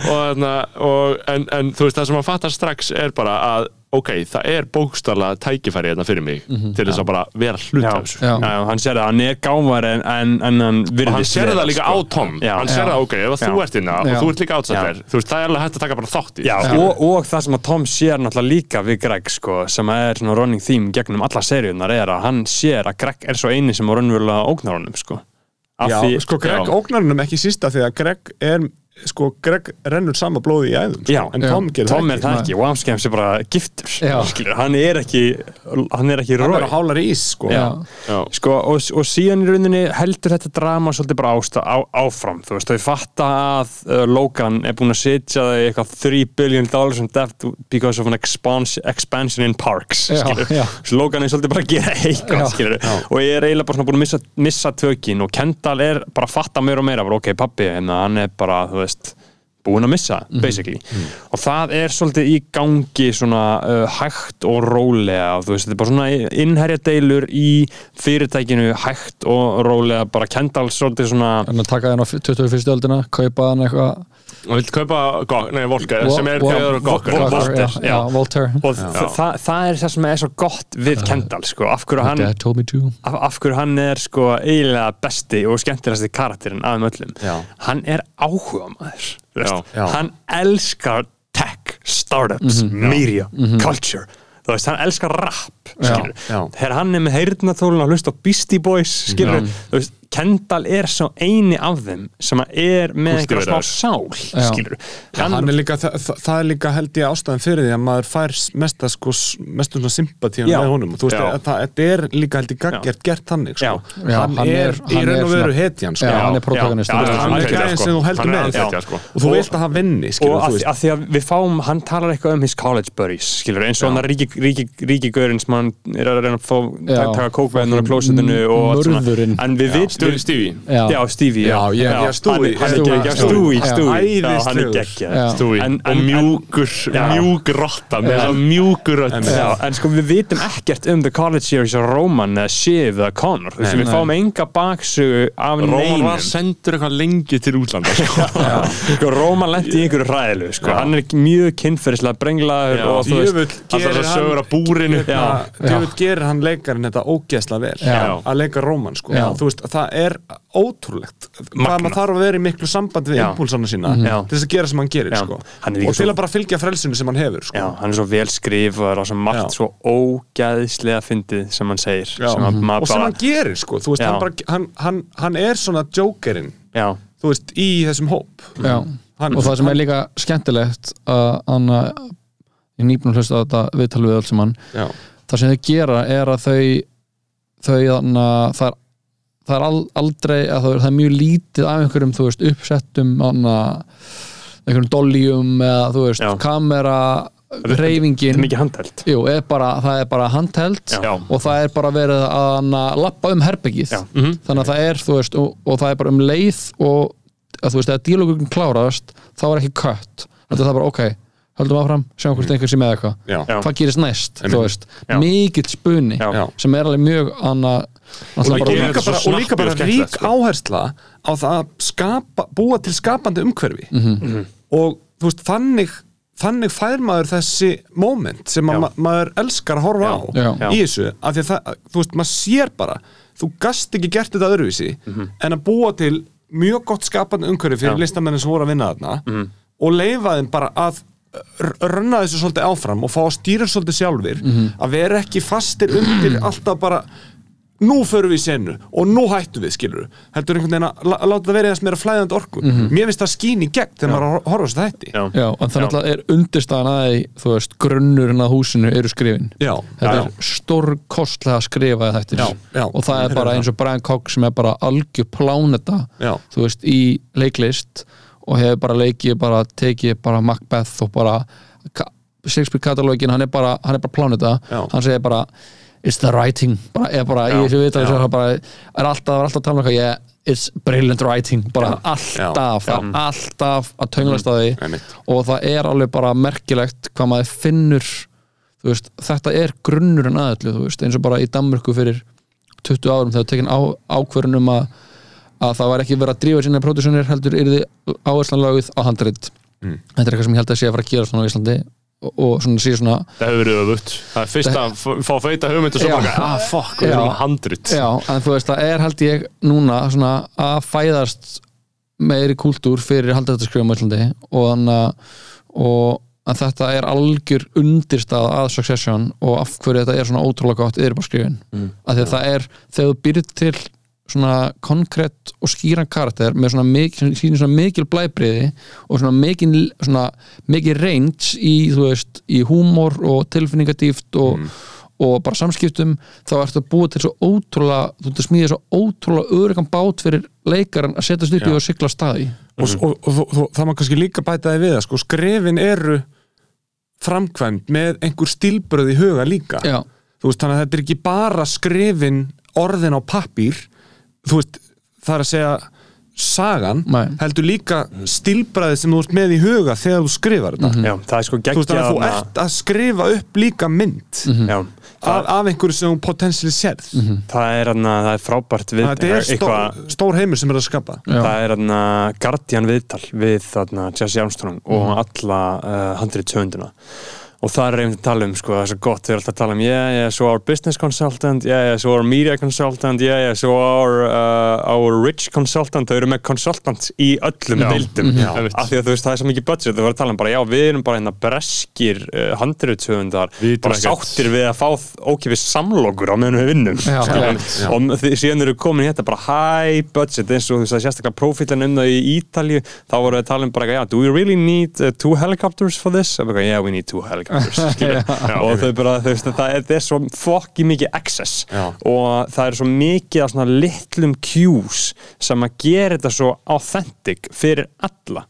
og, þarna, og en, en þú veist það sem hann fattar strax er bara að ok, það er bókstala tækifæri hérna fyrir mig
Mhm,
til þess að bara vera hlut
já,
af þessu
já. hann sér það, hann er gámar en, en, en hann virðist
og hann sér
vera, sko.
það
sko.
líka á Tom
Já.
hann sér
Já.
það ok, ef að þú
Já.
ert inna og
Já.
þú ert líka
Já.
átsættir þú veist, það er alveg hægt að taka bara þátt í
Já,
þessu.
og, og það sem að Tom sér náttúrulega líka við Greg sko, sem er svona running theme gegnum alla seríunar er að hann sér að Greg er svo eini sem á raunverulega ógnar honum sko. Af
já,
því,
sko Greg
já.
ógnarinnum ekki sísta því að Greg er sko Greg rennur sama blóði í æðum sko,
Já,
en Tom
Já.
gerir
Tom
það
er
ekki
það ekki, Wamskems er bara giftur
Já.
skilur, hann er ekki hann er ekki
hann
rói
er að hála rís sko
Já.
Já.
Sko, og, og síðan í rauninni heldur þetta drama svolítið bara ásta, á, áfram þú veist, þau fatta að uh, Logan er búin að sitja þau í eitthvað 3 billion dollars in debt because of an expansion, expansion in parks
Já,
skilur.
já.
Svo Logan er svolítið bara að gera
Já.
eitthvað skilur, og ég er eiginlega bara svona búin að missa, missa tökin og Kendall er bara að fatta meira og meira bara, ok, pappi, en hann er bara, þú veist búin að missa, basically og það er svolítið í gangi svona uh, hægt og rólega þú veist, þetta er bara svona innherja deilur í fyrirtækinu hægt og rólega, bara kendal svolítið svona
en að taka hann á 21. öldina kaupa hann eitthvað
og vilt kaupa gok, nei, volka, sem er gæður og gokk
Vol-
Volker, já,
Volter,
já,
Mhm. já.
Volter
og þa þa það er það sem er svo gott við kendal, sko, af hverju hann
Dad told me to
af, af hverju hann er sko eiginlega besti og skemmtilegasti karakterinn af þeim öllum
Já.
hann er áhuga maður
Já.
hann elskar tech, startups, media culture, þú veist, hann elskar rap skilur,
Já.
þegar hann er með heyrnathólun og hlust á Beastie Boys skilur, þú veist, Kendall er svo eini af þeim sem að er með
Kústi
einhverja smá
verður.
sál
Já.
skilur,
Hann, er sko. líka, það, það- það er líka held ég ástæðan fyrir því að maður fær mesta sko, s- mestu svona sympatíum
Já.
með honum þú veist,
Já.
að, það, þetta er líka held ég gaggert gert þannig sko.
Já.
Já,
hann,
hann
er
er-
í
hann
raun
er
og veru
svona-
hetjan sko.
Já, hann
Já,
er protagonist
já, já,
hann er
Andhetja,
gæðin
sko.
sem þú heldur
Hann er
með
andhetja,
Já.
sko.
og þú vilt að hann vinni skilur,
og að,
þú
því-
veist.
að því að við fáum, hann talar eitthvað um his college buddies, skilur, eins og hann að ríki, ríki, ríkigörin sem hann er að reyna að fá,
Já.
taka- taka kókveðinu á klósitinu og allt
Mörðurinn.
en við
Stjóri
vitum
Stífi
Já.
Já, Stevie, já,
Já, ég- ég- Stewie,
hann,
Stewie,
hann er geggja,
Stewie.
Stewie,
Já.
Stewie, já, hann er
Æðislegur.
Já.
geggja
Stewie
En-
og
en-
mjúkur,
Já.
mjúk rotta með þess að mjúkur rödd
Já, en sko við vitum ekkert um The College Series og Roman eða Shiv eða Connor þess að við fáum enga baksugu af
Róman
neinum
var sendur eitthvað lengi til útlanda sko.
sko Roman lendi í einhverju ræðilu sko. hann er mjög kynferðislega brenglaður
Já.
og þú veist,
Djöfull
alltaf
gerir
þessar
hann-
sögur af búrinu.
hérna,
Já.
djöfull gerir hann leikarinn þetta ógeðslega vel
Já.
að leika róman sko.
Já.
þú veist, það er ótrúlegt hvað
Magnað.
maður þarf að vera í miklu samband við
Já.
impulsana sína
Mhm.
Já.
til þess að gera sem hann gerir
Já.
sko.
Hann er líka
og til
svo-
að bara fylgja frelsinu sem hann hefur sko.
Já, hann er svo vel skrifaður og svo margt
Já.
svo ógæðislega fyndið sem hann segir
Já. Mhm.
sem hann
og
maður
sem
bara
hann gerir sko. þú veist,
Já.
hann, bara, hann, hann, hann er svona jokerinn
já,
þú veist, í þessum hóp
Já,
Hann-
og það sem er líka skemmtilegt að hann að- ég er nýbúin að hlusta á þetta viðtal við öll sem hann
Já.
það sem þau gera er að þau þau þannig að það er það er al- aldrei að það er, það er mjög lítið af einhverjum, þú veist, uppsettum þannig að einhverjum dolljum eða þú veist,
Já.
kamera
þetta er
reyfingin
mikið handhælt
Jú, er bara, það er bara handheld
Já.
og það er bara verið að na- lappa um herbyggið
Já.
þannig að það er, þú veist, og, og það er bara um leið og að þú veist, að dílogugum klárast þá er ekki kött, þetta er bara ok höldum áfram, sjáum hvort einhver sé með eitthvað
Já.
Mhm. Já.
hvað gerist næst, þú veist
Já.
mikill spuni,
Já.
Já.
sem er alveg mjög annað,
það
og
gerir
líka
þetta
bara,
svo
og líka
snarpt
bara
og skemmtilegt,
rík
sko.
áhersla á það að skapa, búa til skapandi umhverfi
Mhm.
Mhm.
og þú veist þannig þannig fær maður þessi moment sem að
Já.
ma maður elskar að horfa á
Já.
í þessu, af því að það, þú veist, maður sér bara þú gast ekki gert þetta öðruvísi
Mhm.
en að búa til mjög gott skapandi umhverfi fyrir listamennin sem voru að vinna þarna
Mhm.
og leifa þeim bara að r- runna þessu svolítið áfram og fá að stýra þessu svolítið sjálfur
Mhm.
að vera ekki fastir undir alltaf bara nú förum við í senu og nú hættum við skilur heldur einhvern veginn að lá- láta það vera þess meira flæðandi orku mér finnst það skín í gegn þegar maður hor- horfast þætti
Já.
Mhm. já, en þannig að er undirstaðan að því, þú veist, grunnurinn að húsinu eru skrifin
já,
þetta
já,
er stórkostlega skrifaði þættir
Já, já.
og það er bara eins og Brian Cox sem er bara algjör pláneta
Já.
þú veist, í leiklist og hefur bara leikið, bara tekið bara Macbeth og bara ka- Shakespeare katalógin, hann er bara, hann er bara pláneta
Já.
hann segir bara it's the writing, bara, er bara í þessu viðtal sem hann bara, er alltaf, er alltaf að tala um eitthvað ég, it's brilliant writing, bara alltaf, það er alltaf að tönglast á því
Einmitt.
og það er alveg bara merkilegt hvað maður finnur þú veist, þetta er grunnurinn að öllu þú veist, eins og bara í Danmörku fyrir 20 árum þegar tekin á, ákvörun um að, að það var ekki verið að drífa sinna pródusjónir heldur yrði áherslanlöguð á handrit þetta er eitthvað sem ég held að sé að fara að gera svona á Íslandi og, og svona sé svona
Það hefur verið öfugt. Það er fyrst að f- fá feita hugmynd og svo
Já.
bara, ah fuck, við
Já.
erum handrit.
Já, en þú veist, það er held ég núna svona að fæðast meiri kúltúr fyrir haldaðarskriðum á Íslandi og þannig að og að þetta er algjör undirstað að Succession og af hverju þetta er svona ótrúlega gott yfirbarskriðin mm. að því að það er, þegar þú byrð til svona konkrétt og skýran karakter með svona, mik sýnir svona mikil blæbriði og svona mikil, svona mikil range í, þú veist, í húmor og tilfinningadýft og, og bara samskiptum þá ertu að búa til svo ótrúlega þú ert að smíða svo ótrúlega örugan bát fyrir leikaran að setjast upp í og sigla af stað í
og, s- og, og, og, og það maður kannski líka bæta því við að sko, skrefin eru framkvæmd með einhver stílbröð í huga líka
Já,
þú veist, þannig að þetta er ekki bara skrefin orðin á pappír þú veist, það er að segja sagan,
Nei.
heldur líka stílbræði sem þú ert með í huga þegar þú skrifar þetta
Já, það er sko
þú veist, þannig
geggjað
að þú
þarna-
ert að skrifa upp líka mynd
Já,
af, af einhverju sem hún potensiali sérð
það er, hana, það er frábært við,
þetta er stór,
Mhm. eitthvað-
stór heimur sem er að skapa
Já.
það er þarna Guardian viðtal við þarna Jesse Armstrong
Mhm.
og alla uh, handrið höfundina og það er einmitt að tala um sko, það er svo gott, þau eru alltaf að tala um yeah, yeah, so our business consultant, yeah, yeah, so our media consultant yeah, yeah, so our, uh, our rich consultant, þau eru með consultants í öllum
Já.
deildum
Mhm. Já.
af því að þú veist, það er svo mikið budget, þau voru að tala um bara já, við erum bara hérna breskir uh, handriðtöfundar,
Vitum
bara
ekkert.
sáttir við að fá ókipis samlokur á meðan við vinnum
Já.
skilurðu og þið- síðan eru komin í þetta bara high budget eins og þú veist að sérstaklega profílan um það í Ítalju þá voru við að tala um bara yeah, do we really need uh, two helicopters for this og bara yeah we need two helicopters skilur. og þau bara þau veist það er, það er svo fokki mikið excess
Já.
og það er svo mikið af svona litlum cues sem að gera þetta svo authentic fyrir alla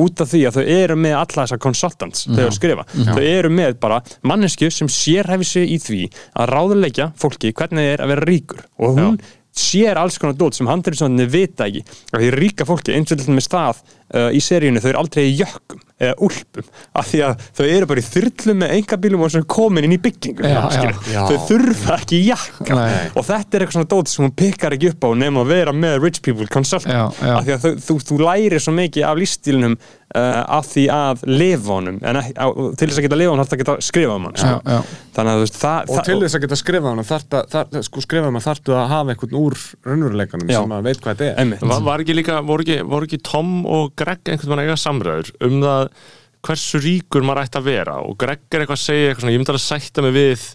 út af því að þau eru með alla þessar consultants þau eru
Mhm.
að skrifa, þau eru með bara mannesku sem sérhæfi sig í því að ráðuleikja fólki hvernig það er að vera ríkur og hún sér alls konar dót sem handriðsvöndinni vita ekki og því ríka fólki eins og til með stað uh, í seríunni, þau eru aldrei í jökkum eða úlpum, af því að þau eru bara í þyrlum með engabílum og svo komin inn í byggingum
Já,
skilur.
já. Já.
þau þurfa ekki jakka
Nei.
og þetta er eitthvað svona dót sem hún pikkar ekki upp á nema að vera með rich people consultant
Já, já.
af því að þú, þú, þú lærir svo mikið af lífstílnum uh, af því að lifa honum en ekki, á, til þess að geta lifa honum þarf að geta skrifað um hann
já, já,
þannig að þú veist það,
og
það
til þess að geta skrifað hana þarft að, þar, sko, skrifað hana þarftu að hafa einhvern úr raunveruleikanum
Já.
sem að veit hvað þetta er
einmitt,
Var, var ekki líka, voru ekki, voru ekki Tom og Greg einhvern veginn að eiga samræður um það hversu ríkur maður ætti að vera og Greg er eitthvað að segja eitthvað svona, ég myndi alveg að sætta mig við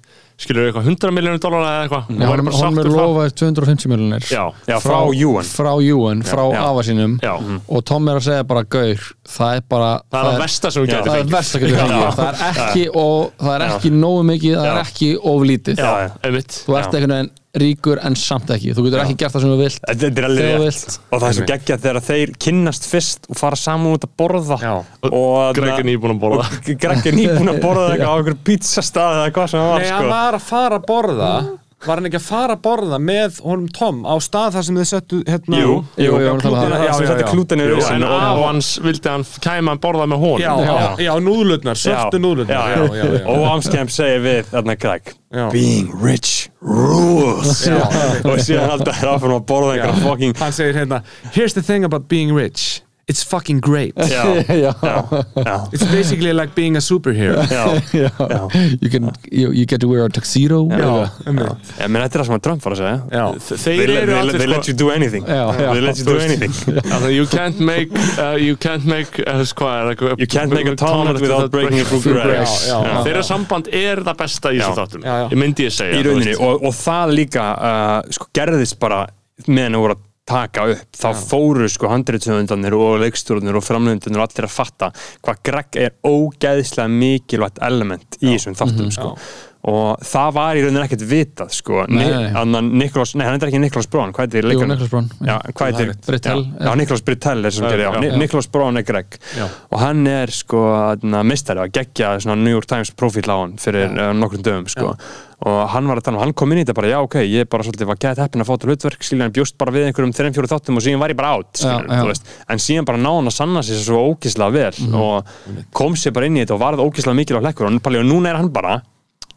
skilur eitthvað 100 miljónum dólar eða eitthvað
Já,
og væri
hann
bara
hann
sáttur
er
frá-
lofaðið 250 miljonir
já,
Já, frá Júan
frá Júan, frá
Já.
afa sínum Mhm.
já, Mhm.
og Tom er að segja bara gaur það er bara
það er það versta sem þú
Já,
getur
það er
fengið
verst að geta
Já.
fengið það er ekki, og, það er ekki nógu mikið það
Já.
er ekki oflítið
já,
Já, já.
einmitt
þú ert einhvern veginn ríkur en samt ekki þú getur ekki gert það sem þú vilt
Þetta þetta er alveg
Þegar
rétt
þú vilt.
og það er svo geggjað þegar þeir kynnast fyrst og fara saman út að borða
Já.
og
Greg er nýbúin að borða
Gregin íbúin að borða eitthvað á einhver pizzastað eða hvað sem það var
Nei, hann
sko.
var að fara að borða Var hann ekki að fara að borða með honum Tom á stað þar sem þið settu hérna
Jú,
jú, ég var að tala um
klútana,
það.
Já,
sem
já,
settu
já.
klútana
Jú,
í
en
rausinu og-
af hans vildi hann kæma að borða með hón
Já, já, já, núðlutnar, svörtu núðlutnar
já, já, já, já. og Amskemp segir við þarna Greg
Já.
being rich rules og síðan alltaf er áfram að borða einhverja fucking
Hann segir hérna Here's the thing about being rich It's fucking great
já,
Já.
já,
It's basically like being a superhero
já, já. já.
you, can, you, you get to wear a tuxedo
Já, einmitt.
Ég meina, þetta er það sem að Trump var að segja
já.
þeir
They,
eru
they,
allir sko-
they let you do anything
Já, já.
They let you do anything
Þannig að you can't make uh, you can't make uh, hvað er það?
You can't make a
Tonnet
tournament without breaking a
breaking-
through grass
grass. Já, já, já.
Þeirra samband er það besta í þessum þáttum
Já, já.
Ég myndi ég
í
segja þú
rauninni
veist.
og, og það líka uh, sko, gerðist bara meðan það voru að taka upp þá fóru sko handriðsöfundanir og leikstjórnir og framlöndunir og allir að fatta hvað Greg er ógeðslega mikilvægt element í þessum þáttum
Mhm.
sko. og það var í rauninni ekkert vitað sko
Nei, nei, nei.
nei. Niklas, nei hann er ekki Niklas Brón hvað er leikarinn?
Nicholas Braun, já.
já, hvað heitir-
rétt. Britell,
já, já, Niklas Britell er sem gerir já,
já,
Ni-
já.
Niklas Braun er Greg
Já.
og hann er sko na, mistari að gegja svona New York Times profil á hann fyrir uh, nokkrum dögum sko. og hann var að tala um, hann kom inn í þetta bara já ok, ég bara svolítið var gett heppin að fá til hlutverk skilja hann bjóst bara við einhverjum 3-4 þáttum og síðan var ég bara átt skilur,
Já, já.
þú veist. en síðan bara ná hann að sanna sér svo ógislega vel
Mhm.
og kom sér bara inn í þetta og varð ógislega mikil á hlekkur og nú- og núna er hann bara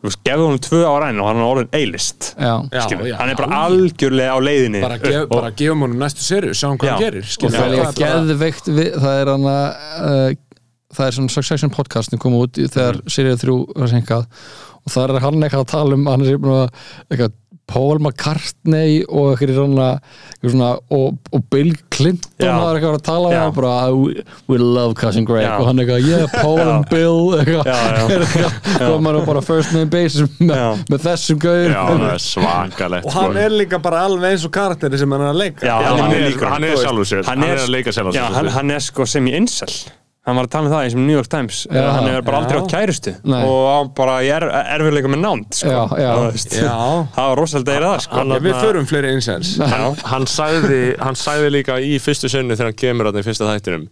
þú veist, gefðu honum tvö ára enn og hann er orðin eilist
Já.
Já, já.
hann er bara algjörlega á leiðinni
bara, gef, bara gefum honum næstu serju sjáum hvað
Já.
hann gerir
og
skilur
það er
við.
líka geðveikt við, það er hann að uh, það er svona Succession podcastin kom út í- þegar mm. Sirius 3 var senkað og það er hann eitthvað að tala um hann er búin að eitthvað Paul McCartney og eitthvað í svona, eitthvað svona og, og Bill Clinton
Já.
það er eitthvað að tala um
Já.
hann bara we, we love Cousin Greg
Já.
og hann eitthvað yeah Paul and Bill eitthvað
Já, já.
og maður er bara first name basis
Já.
með, með þessum gaur
Já, það er svakalegt
og hann er líka bara alveg eins og karakteri sem hann er að leika
Já,
sko. Já,
hann,
hann
er
er-
líkur
hann er
þú veist.
sjálfur sér. Hann er að leika sjálfur sér,
já,
svolítið.
hann, hann er sko sem í insel hann var að tala um það í sem New York Times já,
Já.
hann er bara aldrei
Já.
átt kærustu
Nei.
og hann bara er, erfiðleika með nánd sko.
Já, já.
Þú veist.
Já.
það var rosalega eða það sko.
Já, við förum fleiri insights
hann, hann, sagði, hann sagði líka í fyrstu sönnu þegar hann kemur hann í fyrsta þættinum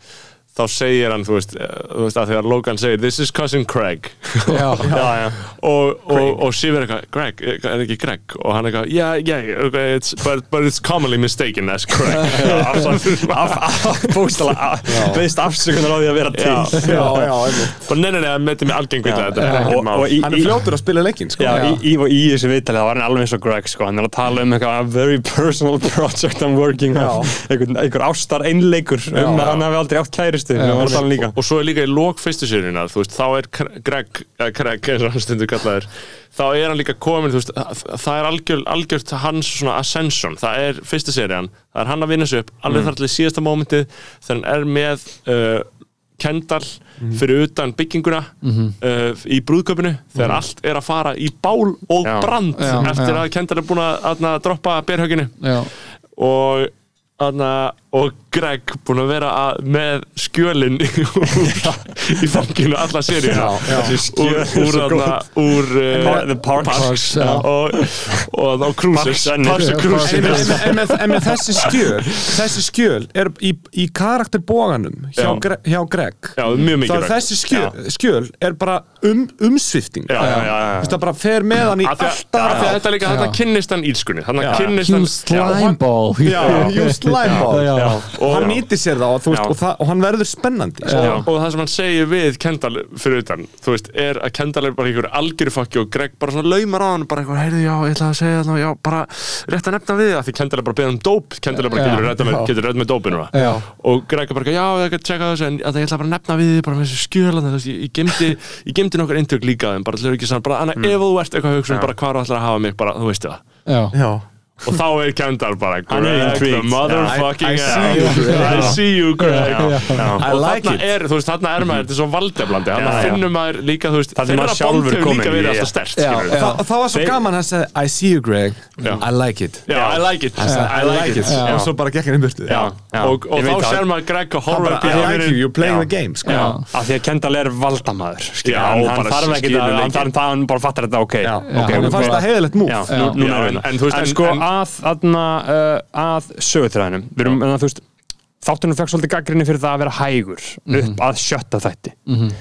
þá segir hann, þú veist, eh, þú veist að þegar Logan segir This is cousin Craig
Já.
já, já.
og, og, og Sivir eitthvað, Greg, eh, er það ekki Greg? og hann eitthvað, yeah, yeah, okay, it's, but, but it's commonly mistaken as Craig
af, af, bókstala veist afsökunar á því að vera til
Já.
já, já, einmitt.
og neina, neina, meðtum við algengu í þetta þetta er
og,
ekkert mál.
og í,
hann er
í,
fljótur að spila leikinn sko.
Já, í, í, og í þessu viðtalið það var hann alveg eins og Greg sko, hann er að tala um eitthvað a very personal project I'm working on einhver, einhver ástar einleikur um að hann hafi aldrei átt kæristu við varum að tala um líka
og, og svo er líka í lok fyrstu sérjuna þú veist, þá er Kr- Greg, eða Greg eins og hann stundur kallaður þá er hann líka komin, þú veist, það- það er algjör, algjört hans svona ascension það er fyrstu sérjan, það er hann að vinna sig upp
Mm.
alveg þar til í síðasta mómentið þegar hann er með uh, kendal
Mm.
fyrir utan bygginguna
Mhm.
uh, í brúðköpinu þegar allt er að fara í bál og
Já.
brand
Já,
eftir
já.
að kendal er búin að, að, að droppa berhöginu
Já.
og Anna, og Greg búin að vera að, með skjölin úr- í fanginu alla seríuna
Þessi
úr,
skjöl
úr,
svo
anna,
gott.
úr
Par-
uh,
The Parks.
Parks, já.
og, og, og Cruises
Parks and-
Parks
Já,
and
En, en,
Cruises
en, með, en með þessi skjöl þessi skjöl er í, í karakterbóganum hjá,
Já.
Gre hjá Greg
Já, mjög
þá er
mikilvægt
þessi skjöl, skjöl er bara um, umsvifting
Já, já, já,
Þú veist, það bara fer með hann í
Af því að-
alltaf
af því að þetta er líka
Já.
þetta kynnist hann ílskunni þannig
Já.
að kynnist
You
hann
slime ball
Já, you slime ball.
Já.
og hann
Já.
nýtir sér það og, þú veist,
Já.
og, það, og hann verður spennandi
og, og það sem hann segir við Kendall fyrir utan, þú veist, er að Kendall er bara einhver algjörfakki og Greg bara svona laumar á hann bara einhver, heyrðu, já, ég ætla að segja það já, bara rétt að nefna við það, því Kendall er bara að beða um dóp, Kendall er bara,
Já.
getur redda með, getur redda með dópinu
Já.
það, og Greg er bara, já, ég ætla að checka þessu, en að ég ætla bara að nefna við þið bara með þessu skjölan, þú veist, ég, ég gemdi ég gemdi nokkur um eintök líka, af þeim, bara til ekki sann bara, anna, ef þú ert eitthvað hugsun, bara hvar þú ætlar að hafa mig, bara, þú veistu það
Já.
Já.
og þá er Kendall bara
Hann er
Greg the
intrigued.
motherfucking
I- I see you,
hell.
Greg.
I see you Greg
Já, já.
og þarna er, þú veist, þarna er maður þetta er svo valdeblandi, þarna
Já, já.
finnur maður líka, þú veist,
Þarna er maður sjálfur
bond hefur líka
kominn í-
verið alltaf stert
Já,
skilurðu.
já.
Þa, það var svo
Þeir-
gaman hann sagði I see you Greg,
Já.
I like it
já, I like it, I like it
og svo bara gekk hann um burtu
Já.
Já.
og, og
Ég
þá
veit það.
sér maður Greg að
Hann
horfa
bara,
upp í
I like you,
heimurinn
you're playing
Já.
the game sko.
Já, af því að Kendall er valdamaður skilur,
Já,
hann,
bara
hann þarf ekki
skilur
að, hann,
leikinn.
hann, hann bara fattar þetta, ok,
Já.
ok,
Honum
ok.
fannst það heiðarlegt múf.
Já,
Já.
nú- núna
Já,
er
en-
þetta.
en þú veist,
en
en-
sko
en-
að, aðna, uh, að sögutræðinum við erum, en þú veist þáttunum fekk svolítið gaggrinni fyrir það að vera hægur
Mhm.
upp að sjötta þætti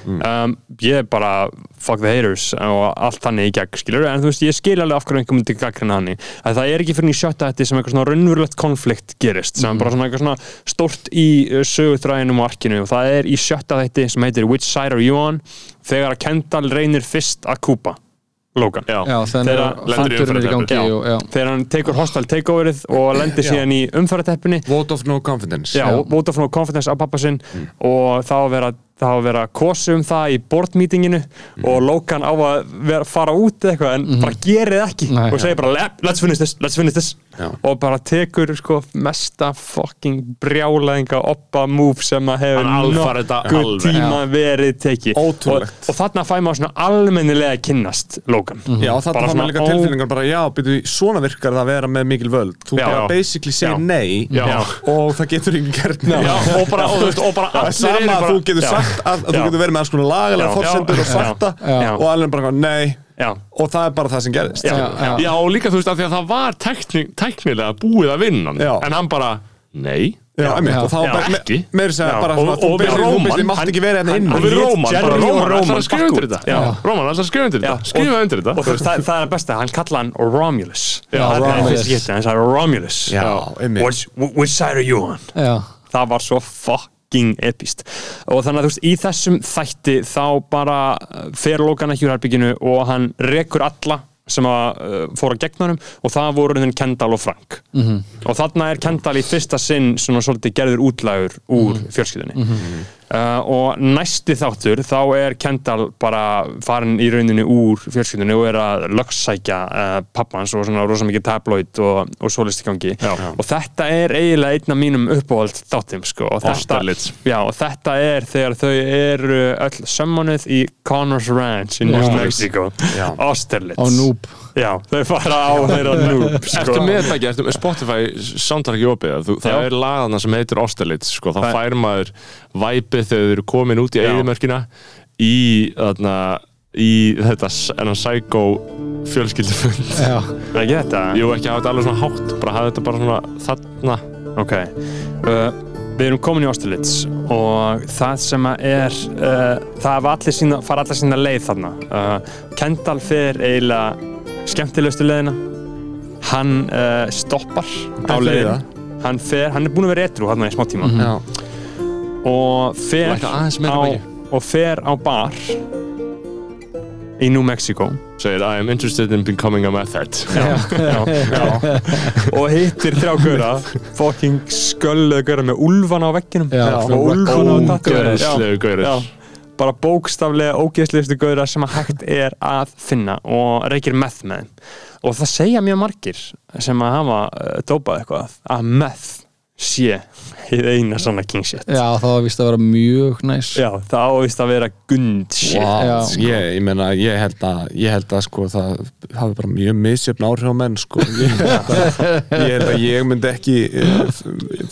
um, ég er bara fuck the haters og allt þannig í gegn skilur en þú veist, ég skil alveg af hverju einhver myndi gaggrinna hann að það er ekki fyrir í sjötta þætti sem eitthvað svona raunverulegt konflikt gerist
Mhm.
sem bara svona eitthvað svona stórt í uh, sögutræðinum og arkinu og það er í sjötta þætti sem heitir Which Side Are You On þegar að Kendall reynir fyrst að kúpa Logan
Já.
já, þannig
Þegar
að
lendir í
fandurinn er í gangi
Já.
og, já.
þegar hann tekur hostile takeoverið og lendir síðan í umfærateppinni
Vote of no confidence
Já, Vodafone og Confidence af pappa sinn og það á að vera, það á að vera kosi um það í board meetinginu og Logan á að vera, fara út eða eitthvað en bara gerið ekki
Nei,
og segir bara "Le- let's finish this, let's finish this
Já.
og bara tekur sko mesta fucking brjálæðinga oppa move sem að hefur
Hann alfar þetta
nokkuð
alveg.
tíma verið tekið og,
Ótrúlegt. Mhm.
og þarna fæ maður svona almennilega að kynnast Logan
Já, þarna
Bara
fann
svona
maður líka
ó-
tilfinningar bara, já, byrju, svona virkar það að vera með mikil völd Þú
Já.
bara basically segir
Já.
nei
Já.
og það getur ekki gert neitt
Já, og bara, og, þú veist, og bara
Það er
allir
sama
eru
að
bara-
þú getur
já.
sagt að, að þú
Já.
getur verið með alls konar lagalega
Já.
fórsendur
Já.
og sagt
Já.
það og alveg bara, nei,
Já.
og það er bara það sem gerist
Já.
Já.
Já, og líka þú veist af því að það var tekni, teknilega búið að vinna hann
Já.
En hann bara, nei
Já, einmitt, og þá
Já.
bara,
Ekki.
me- meira segja
Já.
bara
Og-
svona, þú
og við
basically-
Róman,
þú basically mátt
hann-
ekki vera hérna
hann-
inni
Og við
lét
Róman, bara
Jerry og
Róman,
Róman
ætlar að skrifa
bakka
undir
út.
þetta
Já.
Róman, ætlar að skrifa
Já,
undir þetta, skrifa
og-
undir
og
þetta
þú veist, það, það er að besta, hann kalla hann Romulus það er
Romulus.
fyrst getið, hann sagði Romulus
Já, einmitt.
which, which side are you on?
Já.
það var svo fucking epist og þannig að þú veist, í þessum þætti þá bara uh, fer Logan ekki úr herbygginu og hann rekur alla sem að uh, fóra gegn honum og það voru þinn Kendall og Frank -hmm. og þarna er Kendall í fyrsta sinn svona svolítið gerður útlægur úr fjölskyldunni uh, og næsti þáttur þá er Kendall bara farin í rauninu úr fjölskyldunni og er að lögsækja uh, pappans og svona rosa mikið tabloid og, og svolist í gangi
Já.
og þetta er eiginlega einn af mínum uppáhald þáttum sko og þetta,
Ástarlits.
já, og þetta er þegar þau eru öll sömmanuð í Connors Ranch í New
Já.
Mexico
Já.
Austerlitz
á Noob
já, þau fara á þeirra Noob sko.
Ertu með þetta ekki, ertu með Spotify soundtrack í opið þú, Það
Já.
er lagana sem heitir Austerlitz sko, Það
Það-
fær maður væpið þegar þau eru komin út í
Já.
eigðumörkina Í, þarna, í þetta s- Enn psycho fjölskyldufund
já.
er ekki þetta?
Jú, ekki hafa þetta alveg svona hátt Bara hafa þetta bara svona þarna
ok uh, við erum komin í Austerlitz og það sem að er uh, það hafa allir sína, fara allir sína leið þarna uh, Kendall fer eiginlega skemmtilegustu leiðina hann uh, stoppar á
fer í það.
leiðin hann, fer, hann er búin að vera etru hann í smá tíma
Já.
og fer
Lækka Mhm. aðeins meira
á,
vægi.
og fer á bar í New Mexico
Segir, I am interested in becoming a method
já, já. og hittir þrjá góra fucking skölluðu góra með úlfana á vegginum
Já,
og
svona
úlfana á
raccoon
tattúinu
Ógeðslegu gaurar.
bara bókstaflega ógeðslegustu góra sem að hægt er að finna og reykir meth með þeim og það segja mjög margir sem að hafa uh, dópað eitthvað að meth sé hið eina svona king shit
já, það var vist að vera mjög næs
já, það ávist að vera gund shit
Já.
Wow, ég, ég meina, ég held að ég held að sko það hafi bara mjög misjöfn áhrif á menn sko ég held að ég, held að ég myndi ekki eh, f-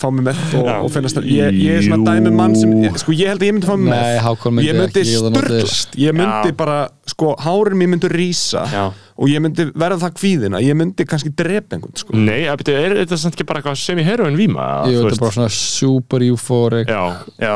fá mig með og,
Já.
og finnast að ég, ég er svona dæmi mann sem sko ég held að ég myndi fá mig með
Nei, Hákon myndi
ég myndi
ekki líða nógu
störtlast, ég myndi
Já.
bara sko hárin mér myndi rísa
Já.
og ég myndi verða það kvíðina, ég myndi kannski drepa einhvern sko
Nei, að byrja, er þetta samt ekki bara eitthvað sem í heroin víma?
ég
þú
veit
veist?
bara svona super euphoric
Já,
já,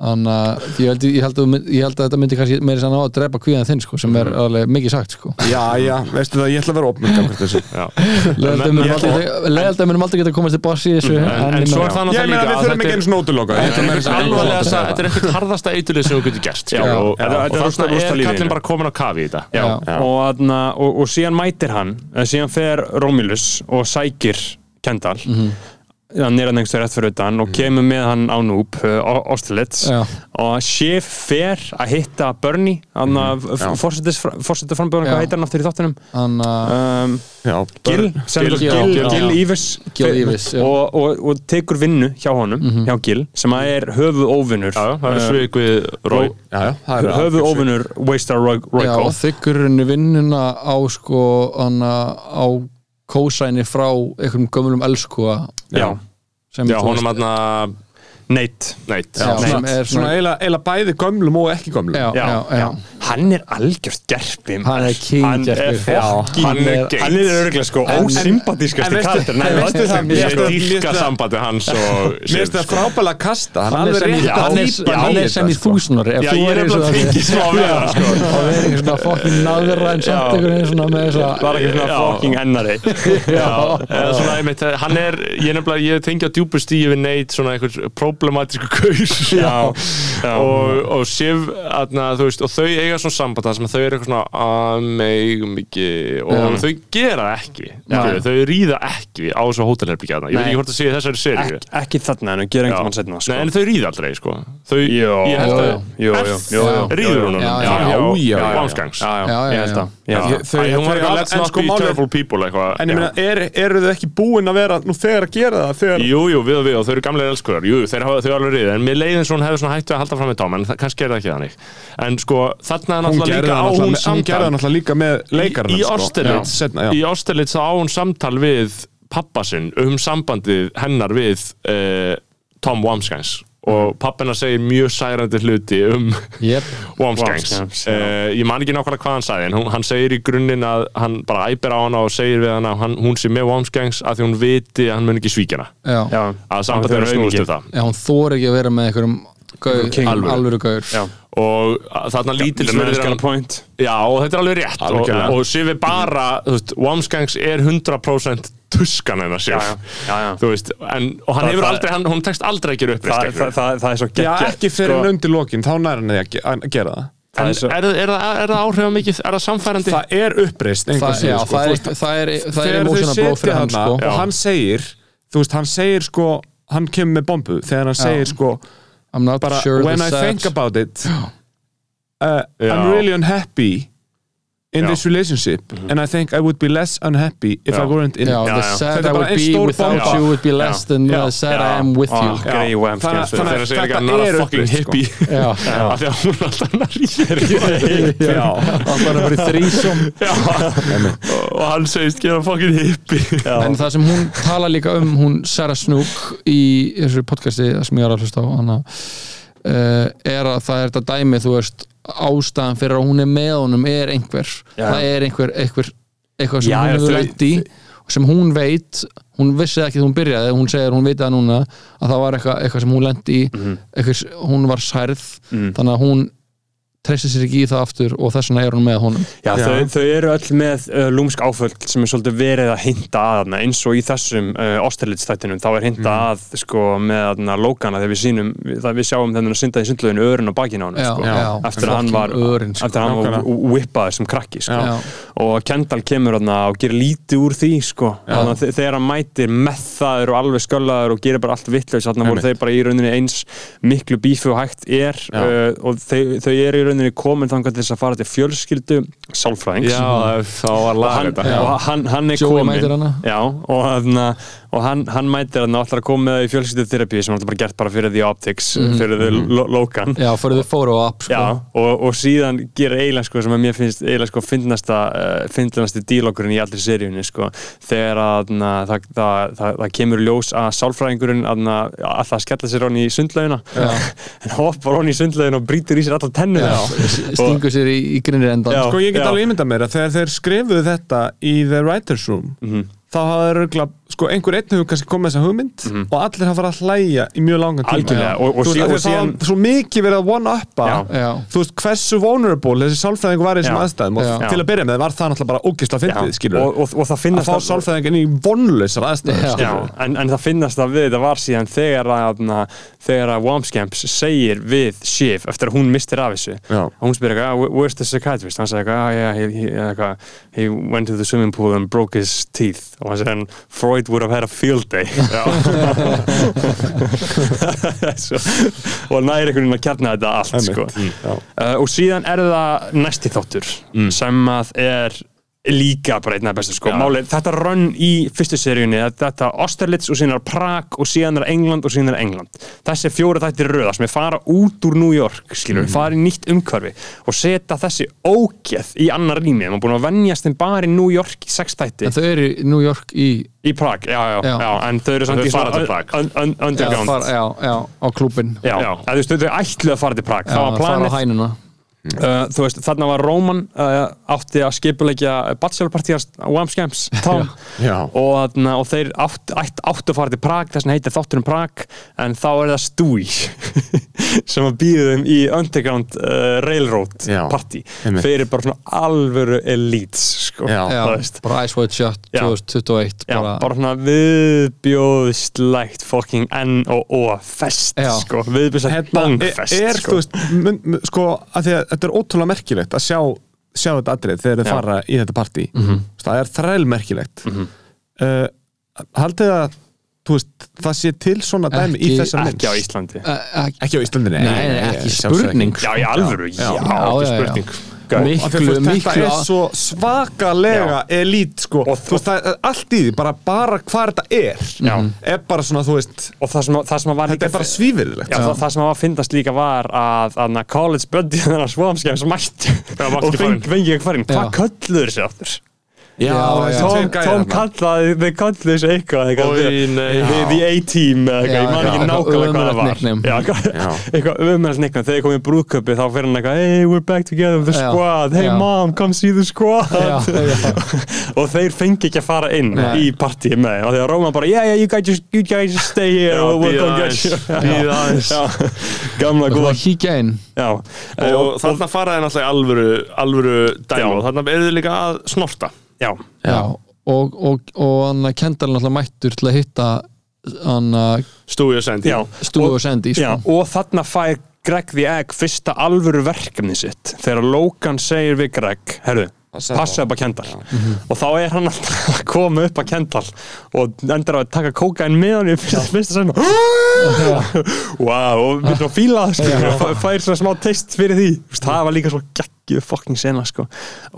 þannig að ég held, ég, held að, þú mynd- ég held að þetta myndi kannski meiri sann á að drepa kvíðan þinn sko, sem
Mm.
er alveg mikið sagt sko.
já, já, veistu það, ég ætla að vera opnum gangvart þessu
já
leiðaldar
Ég
munum
ætla-
aldrei- leiðaldar munum aldrei geta komast í bossi í þessu
En, en svo er það
ég meina
náttúrulega
við
líka
þurfum ekki eins og nótuloka
Þetta er eitthvað alvarlegasta, þetta er eitthvað harðasta eitulið sem þú getur gert já,
Já,
og,
já.
og,
Þetta er
og
rústa-
þarna
rústa
er
lífinu.
kallin bara komin á kafi í þetta
já.
Já.
Og, aðna, og,
Mhm.
og síðan mætir hann eh, síðan fer Romulus og sækir Kendall hann er hann einhversu rétt fyrir utan og kemur með hann á Noob uh, Austerlitz
Já.
og Schiff fer að hitta Bernie hann að
Já.
fórsetisframbjóðan hvað
Já.
heitir hann aftur í þáttunum
hann að
um,
Já,
Gil,
börn-
Gil,
Gil,
Gil,
já.
Gil Ívis
Gil Evers, já. Mhm.
og, og, og tekur vinnu hjá honum hjá Gil sem að er höfu óvinnur
já, það
Uh,
er svik við Rói
Já, já, það er
höfu óvinnur Waystar
Já,
Royko
og þykkurinu vinnuna á sko hann að á kósæni frá einhverjum gömulum elskua
já,
sem
Já,
þú
honum
veist-
hann að
Nate
Neitt
Já,
Nei.
sem er
Svona
svona
eiginlega eiginlega bæði gömlum og ekki gömlum
já, já, já,
Hann er algjört gerpim
Hann er king
Hann er
gerpir.
fokkin
Já,
hann er geit.
Hann er örglega sko
En-
En
ósympatískasti
veistu-
karakter
en veistu það, mér
Ég
finnst það- mér
dýrka
finnst það-
sambandi hans og sko.
Mér finnst það frábæla kasta Hann,
hann er
alveg
sem í,
rétt
Já,
hann er,
típan
hann
í
er sem
þetta,
í
sko.
þúsunar ef
Já,
þú
ég er
værir eins og
nefnilega
það-
fengið smá við það sko.
og verið einhvern svona fokkin naðra en samt einhvern veginn svona með þess að
Það er ekki svona
Já.
fokkin ennari
Já, eða svona, einmitt, hann er, ég nefnilega, ég tengi á djúpu stíði við neitt svona einhver problematísku kaus
Já, já.
og, og Sif, aðna, þú veist, og þau eiga svona samband þar sem að þau eru eitthvað svona að meigum ekki og þau gera það ekki, skilur, þau ríða ekki á þessu hótelherbyggja þarna, ég veit
Nei.
ekki hvort það sé í þessari seríu
Ek, Ekki þarna en að gera einhvern veginn setna sko.
Nei, en þau ríða aldrei, sko þau,
Jó,
ég held að
jú, jú, jú, jú, jú.
ríður hún honum?
Já, já,
já, já.
ámsgangs
Já, já,
Já, já,
ég held
já.
að Já,
Ég- þau-
Æ, hún var
þau-
eitthvað let's
en
not
sko
be
málið-
terrible people eitthvað
En
Já.
ég meina, er, eru þau ekki búin að vera nú þegar að gera það þegar
Jú, jú, við og við og þau eru gamlega elskuðar Jú, þeir hafa, þau eru alveg riðið En mér leiði eins og hún hefði svona hættu að halda fram með Tom En það, kannski er það ekki þannig En sko, þarna er
hún
náttúrulega
gerði
líka á
það
hún
náttúrulega- hún gerði
samtal
það náttúrulega líka með sko. leikarinn
Í Austerlitz sko. Í Austerlitz þá á hún samtal við pappa sinn um sambandið hennar við uh, Tom Wamsgans og pappina segir mjög særandi hluti um
Jep.
Wamsgangs
Wamsgangs,
uh,
já.
ég man ekki nákvæmlega hvað hann sagði en hún, hann segir í grunninn að hann bara æpir á hana og segir við hana að hann, hún sé með Wamsgangs að því hún viti að hann mun ekki svíkjana
Eh, já.
já
að sambandið er snúist um það
já, hún þóri ekki að vera með einhverjum
King.
gaur, alvöru gaur
Já,
og að þarna
the
lítils
man's
verður
got a
hann
point
já og þetta er alveg rétt
Algjörlega.
og, og Sif er bara, þú veist, Wamsgangs er 100% tuskan hennar Sif
Já, já, já, já.
þú veist, en, og hann
Það-
hefur
það-
aldrei, hann, hún tekst aldrei að gera upp
Það, það, það, það er svo
Já,
geggja
ekki fyrir sko, nöndi lokin, þá nær hann því að ge- að gera það
Það er svo
er, er, það- er það áhrifamikið, er það samfærandi
Það er uppreist
það,
einhvers
já,
veginn, sko.
það
Þú
er,
veist,
það er, það er
þegar þau
emotional blow fyrir
setja
hann
hana
sko.
og hann segir þú veist, hann segir sko hann kemur með bombu, þegar hann segir sko
I'm not
bara,
sure
when
this
I
sad-
think about it uh, I'm
Já.
really unhappy in
Já.
this relationship and I think I would be less unhappy if
Já.
I weren't in
já,
it
the
Mhm. já.
sad
Þetta
I
er bara
would
einn
be
stór
without
bomba.
you would be less than
Já.
the sad I am with you
Já, grei
Þannig að-
Wamsgans
þannig
þegar
að
það segir ekki
þetta
hann er
er
að fucking
uppreist, sko.
hippie
já, já.
af því að hún er alltaf hann að ríða
Já.
það var að vera þrísom
og hann segist gera fucking hippie
en það sem hún tala líka um hún Sarah Snook í þessu podcasti sem ég er að hlusta á hana uh, er að það er þetta dæmi þú veist ástæðan fyrir að hún er með honum er einhver,
Já.
það er einhver, einhver eitthvað sem
Já,
hún
já,
hefur
þau-
lent í sem hún veit, hún vissi ekki þegar hún byrjaði, hún segir hún veit það núna að það var eitthvað, eitthvað sem hún lent í
Mhm.
eitthvað, s- hún var særð þannig að hún treysti sér ekki í það aftur og þess vegna er hún með honum
Já, Þau, þau eru öll með uh, lúmsk áföll sem er svolítið verið að hinta að þarna, eins og í þessum uh, Austerlitz-þættinum þá er hinta
Mhm.
að sko, með þarna, Lókana þegar við sínum það við sjáum þennan að synda í sundlöginu örun á bakinu á hann
Já,
sko.
já.
eftir að hann var,
Fucking örin, sko.
eftir að hann var whippaður sem krakki sko.
Já.
og Kendall kemur þarna, og gerir lítið úr því sko. Þarna, þe- þegar hann mætir methaður og alveg sköllaður og gerir bara allt vittlaus þannig voru þeir
Einmitt.
bara í rauninni eins miklu bífu og hægt er uh, og þau, þau eru í rauninni komin þangar til þess að fara til fjölskyldu sálfræðings
já, þá var
og hann,
þetta
og hann, hann er
Joey
komin
mætir hana.
já, og, hana, og hann, hann mætir hann og ætlar að koma með það í fjölskylduterapíu sem hann ætlar bara gert bara fyrir The Optics
Mhm.
fyrir The lo Logan
já, fyrir þau fóru á app sko.
Já, og, og síðan gera eiginlega sko, sem að mér finnst eiginlega sko fyndnasta uh, fyndnasti dílokkurinn í allri seríunni sko, þegar að na, það, það, það, það kemur í ljós að sálfræðingurinn að na, alltaf að skella sér honni í sundlaugina en hoppar honni í sundlaugina og brýtur í sér alltaf tennu og,
stingu sér í, í grinnir endan
Já.
sko.
sko ég get
Já.
alveg ímynda mér að þegar þeir skrifuðu þetta í The Writers Room
Mhm.
þá hafa þeir örgla, sko einhver einn hefur kannski komið með þessa hugmynd og allir hafa farið að hlæja í mjög langan tíma
Mhm. Algjörlega, og- og
Þú
síðan-
veist,
og
af því að það
síðan-
var svo mikið verið að one-uppa
Já.
Já.
þú veist hversu vulnerable þessi sálfræðingu var í þessum
Já.
aðstæðum og
Já.
til að byrja með var það náttúrulega bara ógisla
já,
fyndið skilur
og, og, og það
að
finnast
fá sálfræðingin í vonlausar aðstæður sko.
Já.
skilurðu.
Já, en, en það finnast að við þetta var síðan þegar að, na, þegar að Wamscamps segir við Sif eftir að hún mistir af þessu
Já.
og hún spyr eitthvað, "Ah, where's the psychiatrist? hann segir uh, eitthvað, "Ah, yeah, he, he, eitthvað, he went to the swimming pool and broke his teeth og hann segir hann, Freud would have had a field day Svo, og næri einhvern veginn að kjarna þetta allt sko.
Já.
uh, og síðan er það næsti þáttur sem að er líka bara einna bestu sko. Máli, þetta rönn í fyrstu seríunni þetta Austerlitz og síðan er Prag og síðan er England og síðan er England þessi fjóra þættir röða sem er fara út úr New York skilur, fara í nýtt umhverfi og setja þessi ógeð í annar rými maður er búin að venjast þeim bara í New York í sex þætti
en þau eru í New York í
í Prag, já, já, já.
Já.
en þau eru samt
Þau
í
fara til
svona
Prag.
un- un-
já,
underground
far, já, já, á klúbin
Já,
Já.
eða þú veist, þau ætlu að fara til Prag það var
fara á
planið,
hænuna
uh, þú veist, þarna var Róman uh, átti að skipulegja bachelorpartíast Wamscamps tám
Já.
og, þarna, og þeir átt, átt, áttu að fara til Prag þess vegna heitir þátturinn Prag en þá er það Stúi sem að býðu þeim í Underground uh, Railroad
Já,
party
einmitt.
fyrir bara svona alvöru elites sko,
Já.
já,
þú veist
bara Ice White Shot
Já.
2021
Já,
bara,
bara svona viðbjóðslegt fucking N og O fest,
Já.
sko, viðbjóðslegt bangfest,
Hérna, e- er,
sko.
þú veist, mun, mun, sko að því að þetta er ótrúlega merkilegt að sjá, sjá þetta atrið þegar þið
Já.
fara í þetta partí Þú veist, það er þrælmerkilegt mm haldið að þú veist, það sé til svona dæmi í
Ekki-
þessar mynd
ekki á Íslandi
Eh, eh,
ekki á Íslandinni
Nei, nei, ekki spurning.
Já, í alvöru, já,
Já.
ekki
Já, já, já.
spurning Gau.
Miklu-
Af því að þú veist,
miklu-
þetta er svo svakalega elít sko,
Og-
þú veist, það er allt í því bara, bara hvað þetta er
Já.
er bara svona, þú veist,
Og það sem, að- það sem að var
þetta
líka
er bara svífirðilegt
Já, það, það sem að var að fyndast líka var að, að na, college buddy þennan svamskjæms mættu
mátti
og
ekki fara inn.
fengi ekki farin Hvað
Já.
kölluður þessi aftur?
já,
já.
þessi
Tom,
tveir gæjar
Tom
þarna.
kallaði, þau kalluðu þessu eitthvað eitthvað,
Oj,
the-
nei.
the- The A-team eða eitthvað,
Já,
ég man
já.
ekki
Eitthvað
nákvæmlega hvað það
ömurlegt
var
nickname.
Já, eitthvað- Eitthvað umhverfnast nickname, þegar ég kom í brúðköpi þá fyrir hann eitthvað Hey, we're back together with the
Já.
squad Hey
Já.
mom, come see the squad
Já, já.
og þeir fengi ekki að fara inn
Nei.
í partíi með þeim og þegar Róma bara yeah, yeah, you guys just, you guys just stay here
Já,
and we'll
bíða
come get
aðeins,
you."
bíða aðeins.
Já. gamla
Það
góða
var híkja inn
já.
og, þarna fara þeir náttúrulega í alvöru, alvöru dæmi og þarna er þið líka að snorta
já,
Já, og, og, og hann að kendalinn alltaf mættur til að hitta hann að
stúi og sendi
já.
stúi og sendi
já,
sko.
og þarna fær Greg the Egg fyrsta alvöru verkefni sitt þegar Logan segir við Greg herru,
Passa
passa upp að kendal og þá er hann alltaf að koma upp að kendal og endur á að taka kókain með hann í fyrsta, fyrsta sem wow, og við erum að fíla það, skilur, og fæ- fær svona smá test fyrir því Þú veist, það var líka svo geggju fucking sena sko.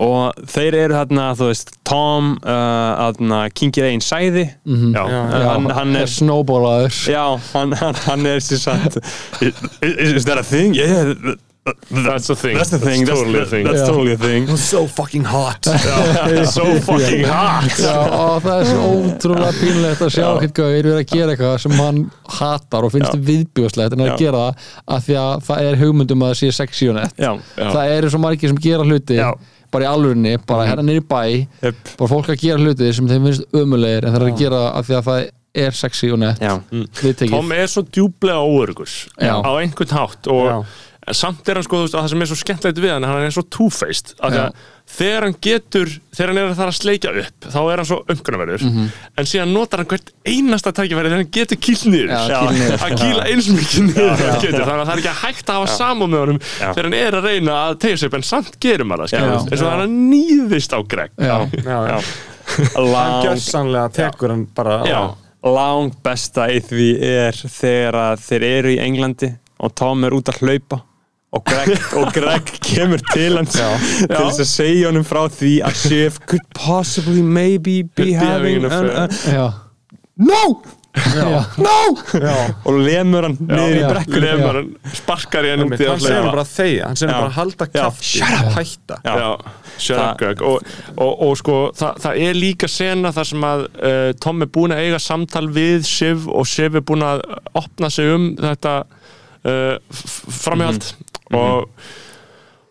og þeir eru þarna þú veist, Tom uh, þarna, kingir einn sæði
Mhm.
já,
Já,
hann, hann er
snowballaður
Já, hann, hann, hann er sér satt is, is that a thing? Yeah, th- th-
That's a thing.
That's the thing.
That's
That's,
totally a thing.
that's
Já.
totally a thing.
so fucking hot
so fucking hot
Já, og það er svo ótrúlega pínlegt að sjá hitt gauðir verið að gera eitthvað sem hann hatar og finnst viðbjóðslegt en að
Já.
gera það af því að það er hugmyndum að það sé sexy og nett
Já, já.
það eru svo margir sem gera hluti
Já. Mhm.
bara í alvörinni, bara hérna niður í bæ
Yep.
bara fólk að gera hluti sem þeim finnst ömulegir en það er að gera það af því að það er sexy og nett
Já.
viðtekið
Tom er svo djúblega óörugur
Já.
á einhvern hátt og
Já.
en samt er hann sko, þú veist, að það sem er svo skemmtilegt við hann hann er svo two-faced af því
Já.
að þegar hann getur, þegar hann er að það að sleikja upp þá er hann svo umkunarverður
Mhm.
en síðan notar hann hvert einasta tækifæri þegar hann getur kýl niður
Já, kýl niður.
að kýla eins mikið niður þegar hann getur þannig að það er ekki að hægt að hafa samúð með honum þegar hann er að reyna að tegja sig upp en samt gerum hann það, skilur
Já.
við. eins og hann nýðist á Greg
Já.
já, já. hann
Lang,
gjörsanlega tekur hann bara
Já.
lang besta í því er þegar að þeir eru í Englandi og Tom er út að hlaupa og Greg, og Greg kemur til hans til þess að segja honum frá því að Sif could possibly maybe be
Be
having
having an
an,
affair.
uh,
Já.
No!
Já.
No!
Já.
og lemur hann niður í
Já.
brekkunni
lemar hann, sparkar í hann út
Einmitt,
í
hann
að
segir hann
hlaupa
bara að þegja hann segir hann
Já.
bara að halda
Já.
kæfti
Shut
hætta
Já.
Já, shut
Það-
up Greg og, og, og sko, það, það er líka sena þar sem að uh, Tom er búin að eiga samtal við Siv og Siv er búin að opna sig um þetta uh, framhjáld
Mhm.
og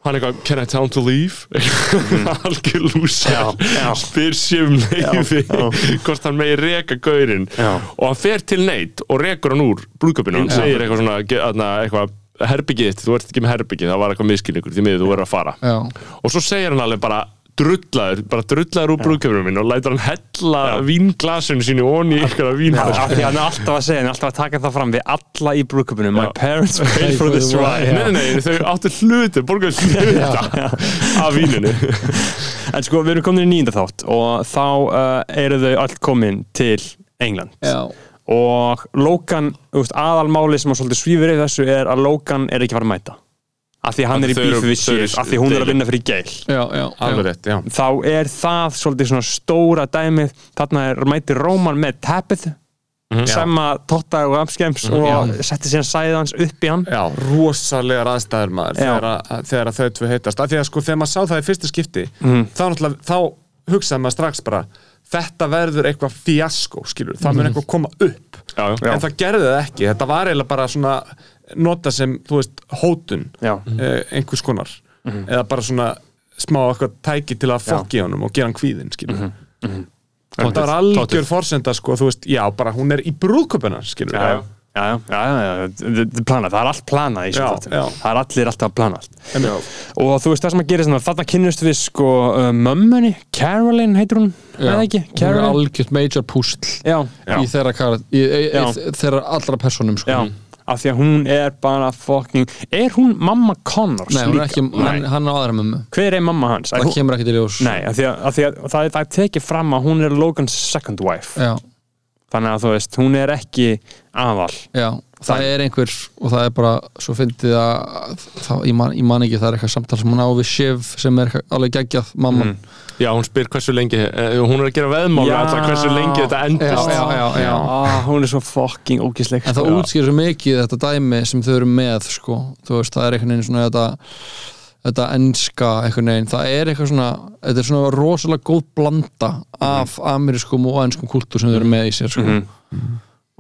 hann er eitthvað, can I tell him to leave? Algjör
Mhm.
lúsar
já.
spyr Siv um leiði hvort hann megi reka gaurinn
Já.
og hann fer til neitt og rekur hann úr brúðköpinu hann segir eitthvað svona, ge- þarna, eitthvað herbyggið þitt, þú ert ekki með herbyggið það var eitthvað miskilningur, því miður þú verður að fara
Já.
og svo segir hann alveg bara drullaður, bara drullaður úr brúðköfnum minn og lætur hann hella vínglasun sínu onni í ykkur að vín
af því hann er alltaf að segja, hann er alltaf að taka það fram við alla í brúðköpunum, my
Já.
parents paid for this ride
Nei, nei, nei, þau áttu hluti, borgar hluta af víninu
eh, en sko, við erum komin í nýjunda þátt og þá uh, eru þau allt komin til England
Já,
og Logan, þú veist, aðalmáli sem að svolítið svífur í þessu er að Logan er ekki að fara að mæta af því að hann
Af
er í
því þau eru-
bífi við
þau eru
sér af því hún er
deilu.
að vinna fyrir gæl
já, já,
alveg
já.
rétt, já
þá er það svolítið svona stóra dæmið þarna er mæti Róman með tappið
Mhm.
sem að totta og apskems og setti síðan sæðið hans upp í hann
Já, rosalegar aðstæður maður
Já.
þegar, að, þegar að þau tvö heitast af því að sko þegar maður sá það í fyrsta skipti þá, náttúrulega- þá hugsaði maður strax bara þetta verður eitthvað fjasko skilur, það mun eitthvað koma upp
Já, já.
en það gerði það ekki, þetta var eiginlega bara svona nota sem, þú veist, hótun
Já.
eh, einhvers konar eða bara svona smá eitthvað tæki til að fokki honum og gera hann kvíðin skilur þetta var algjör forsenda sko, þú veist, já, bara hún er í brúðköpuna skilur,
já, já, já, já, já, já, þetta er planað, það er allt planað í
Já,
þessum
já.
þáttum, það er allir alltaf planað
já.
og þú veist það sem að gera þannig, þarna kynnust við sko uh, mömmunni, Caroline heitir hún
já.
eða ekki,
Hún er
Caroline
algjört major púsl
já, já,
í þeirra, karat, í, í,
Já.
í þeirra allra personum sko.
já, af því að hún er bara fucking, er hún mamma Connors
Nei, hún er
líka?
ekki, hann, hann á aðra mömmu
hver er mamma hans? Er
Það
hún-
kemur ekki til ljós
Nei, af því að, af því að það, er- það er tekið fram að hún er Logan's second wife
Já,
þannig að þú veist, hún er ekki aðal
já, það er einhver og það er bara, svo fyndið að það, ég, man, ég man ekki, það er eitthvað samtal sem hún á við Shiv sem er eitthvað alveg geggjað mamma
Já, hún spyr hversu lengi eh, Hún er að gera veðmála
Já.
alltaf hversu lengi þetta
já,
endist
já, já, já.
ah, hún er svo fucking ógisleik
En það útskýr svo mikið þetta dæmi sem þau eru með sko. þú veist, það er einhvern veginn svona þetta þetta enska einhvern veginn það er eitthvað svona, þetta er svona rosalega góð blanda af
Mhm.
amerískum og enskum kultúr sem þau eru með í sér sko.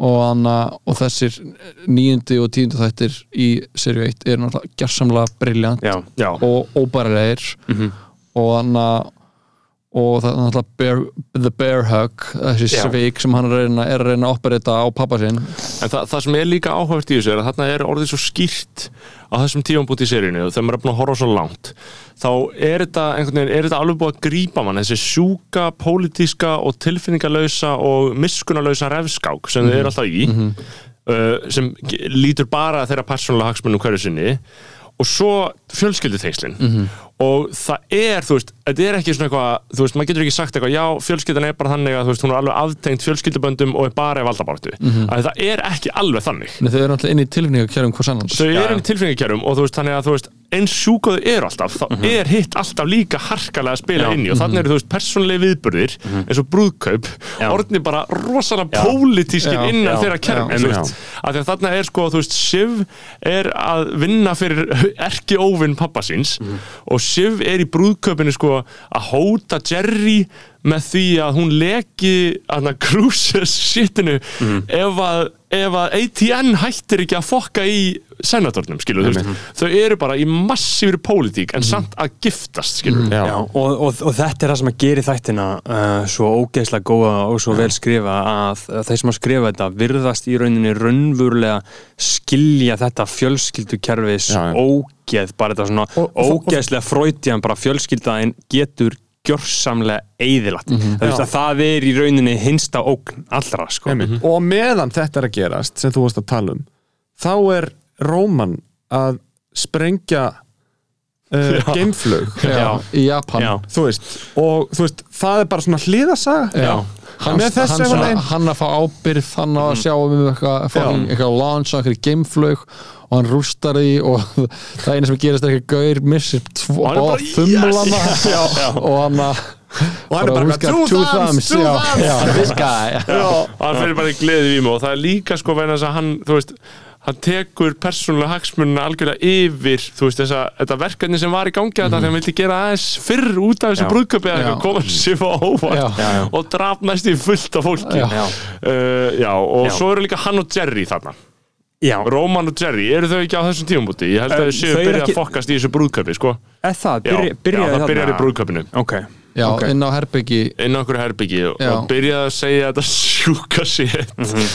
og, anna, og þessir níundi og tíundi þættir í serju 1 eru náttúrulega gersamlega briljant
já, Mhm. já,
og óbærilegir og anna og það er náttúrulega bear, the bear hug þessi
Já.
svik sem hann er að reyna, er að reyna að operita á pappa sinn
En það, það sem er líka áhugavert í þessu er að þarna er orðið svo skýrt á þessum tífambúti í seríunni og þegar maður er búin að horfa svo langt þá er þetta, einhvern veginn, er þetta alveg búið að grípa mann þessi sjúka, pólitíska og tilfinningalausa og miskunalausa refskák sem þau eru alltaf í uh, sem ge- lítur bara að þeirra persónulega hagsmunum hverju sinni og svo fjölskyldutengslin og það er, þú veist, þetta er ekki svona eitthvað, þú veist, maður getur ekki sagt eitthvað já, fjölskyldan er bara þannig að, þú veist, hún er alveg aftengt fjölskylduböndum og er bara í valdabartu mm að það er ekki alveg þannig
Nei, þau eru náttúrulega inn í tilfinningarkjörum hvers annars
þau eru í tilfengikjærum og þú veist, þannig að þú veist eins sjúkaðu eru alltaf, þá er hitt alltaf líka harkalega að spila inn í og þannig eru þú veist persónlega viðburðir, eins og brúðkaup
Já.
orðni bara rosalega pólitískin
Já.
innan
Já.
þeirra
Já.
kjærum þú veist, af því að þarna er sko, þú veist, Siv er að vinna fyrir erki óvinn pappa síns
Mhm.
og Siv er í brúðkaupinu sko að hóta Jerry með því að hún leki hana Cruises shitinu
Mhm.
ef að ef að ATN hættir ekki að fokka í senatornum, skilur, þú
Mhm.
veist þau eru bara í massífri pólitík en samt að giftast, skilur
Mhm. Já.
Já, og, og, og þetta er það sem að gera í þættina uh, svo ógeðslega góða og svo vel skrifa að uh, þeir sem að skrifa þetta virðast í rauninni raunvurlega skilja þetta fjölskyldukerfis
Já, já.
ógeð, bara þetta svona
Og- og-
ógeðslega fröytiðan bara fjölskyldaðin getur gjörsamlega eyðilagt. það, veist
Já.
að það er í rauninni hinsta ógn allra sko.
Einmitt. og á meðan þetta er að gerast sem þú varst að tala um þá er Róman að sprengja uh, geimflög
Já, í Japan
Já.
þú veist, og þú veist, það er bara svona hliðasaga
Já. Hann,
Með þessu
hann,
einhvern
svona,
veginn.
hann að fá ábyrð hann á að sjá um eitthvað fucking- eitthvað launch, eitthvað geimflög og hann rústar því og það eina sem gerist er eitthvað gaur missir tvo
Og hann er bara,
báða þumlana og hann að
og hann er bara,
who's
bara
got
two thumbs, two
já,
thumbs
já, this guy
og hann fyrir bara í gleði vímu og það er líka sko vegna þess að hann, þú veist hann tekur persónulega hagsmunna algjörlega yfir, þú veist, þessa, þetta verkefni sem var í gangi þetta, þegar hann vildi gera aðeins fyrr út af þessu
Mhm. Já.
brúðköpi eða
Já.
eitthvað koma sér á
Já.
óvart
Já, já.
og draf næst í fullt af fólki
Já.
Já.
Uh, já og
Já.
svo eru líka hann og Jerry þarna
Já,
Róman og Jerry, eru þau ekki á þessum tímabúti? Ég held að
Um,
þau séu
þau eru
byrjað
ekki-
að fokkast í þessu brúðköpi, sko
er það,
Já,
byrja,
já
byrjaði
það byrjar í brúðköpinu
Ok,
já,
ok.
inn á herbyggi
inn á okkur herbyggi
Já. Mhm.
og byrjaði að segja þetta sjúka sétt það sem að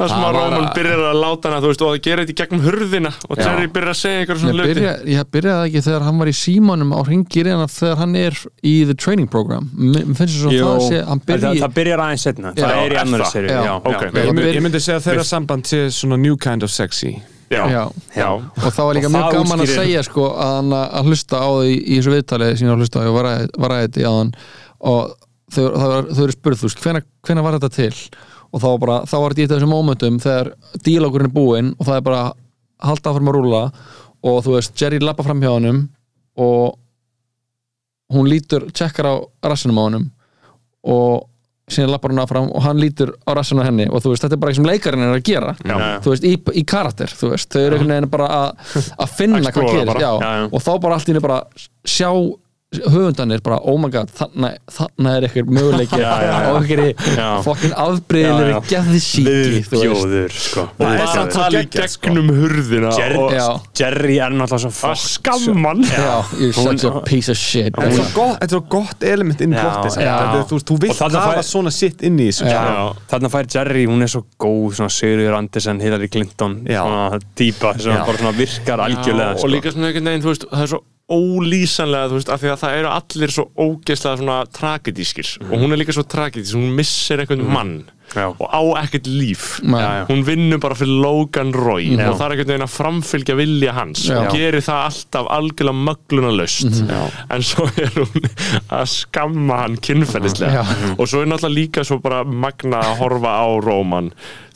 Það var
Róman
að-
byrjar að láta hana þú veist, og það gera þetta í gegnum hurðina og
Já.
Jerry byrjar að segja einhverja
Ég
svona hluti
byrja, ég byrjaði ekki þegar hann var í símanum á hringir en þegar hann er í the training program mér mér finnst þess að
Jú,
það sé hann
það,
byrji
það byrjar aðeins setna,
Já,
það er í
er
annar
það?
serið
Já.
Ok.
ég, myndi,
Við-
ég myndi segja að þeirra samband sé svona new kind of sexy
já,
já.
já.
og það var líka
Og
mjög
það
gaman að
útskýrir-
segja sko, að, hann að- að hlusta á því í þessu viðtali sem ég var að hlusta á, ég var að- var að þetta í aðan og þau, það var, þau eru spurð þú veist, hvena, hvena var þetta til og þá var bara, þá var þetta í þessum mómentum þegar dílókurinn er búinn og það er bara að halda áfram að rúla og þú veist, Jerry lappa fram hjá honum og hún lítur, tjekkar á rassinum á honum og síðan lappar hún áfram og hann lítur á rassinu á henni og þú veist, þetta er bara eitthvað sem leikarinn er að gera
Já.
þú veist, í, í karakter, þú veist þau eru einhvern veginn bara að, að finna hvað
Explora
gerist,
bara.
já,
Já, já.
og þá bara allt í henni bara sjá höfundanir bara, oh my god, þarna, þarna er eitthvað möguleiki
Já, já, já.
og eitthvað
Já.
fokkin
Já,
afbreyðilegri
já.
geðsíki, þú veist
Viðbjóður, sko
og bara
Viðbjóður.
tala í gegnum hurðina
sko. Jerry,
og
Já.
Jerry er náttúrulega svo
að
fokk
skamman
Já, you're such a
Hún-
piece of shit
Þetta er
Já.
svo gott, þetta er svo gott element inn í
Já,
plotti
já.
Þú veist, þú
Og
vilt
þarna
hafa
fær-
svona shit inn í þessu
Já.
sko.
Þarna fær Jerry, hún er svo góð svona Sigurður Andersen, Hillary Clinton
Já.
svona típa sem bara svona virkar algjörlega sko.
og líka svona einhvern veginn, þú veist, það er svo ólýsanlega, þú veist, af því að það eru allir svo ógeðslega svona tragedískir og hún er líka svo tragedísk, hún missir einhvern mann
Mhm. Já.
og á ekkert líf
Nei.
Já, já.
hún vinnur bara fyrir Logan Roy
Já.
og það er einhvern veginn að framfylgja vilja hans
Já.
og gerir það alltaf algjörlega möglunarlaust
Mm-hmm.
en svo er hún að skamma hann kynferðislega
Já.
og svo er náttúrulega líka svo bara magna að horfa á Róman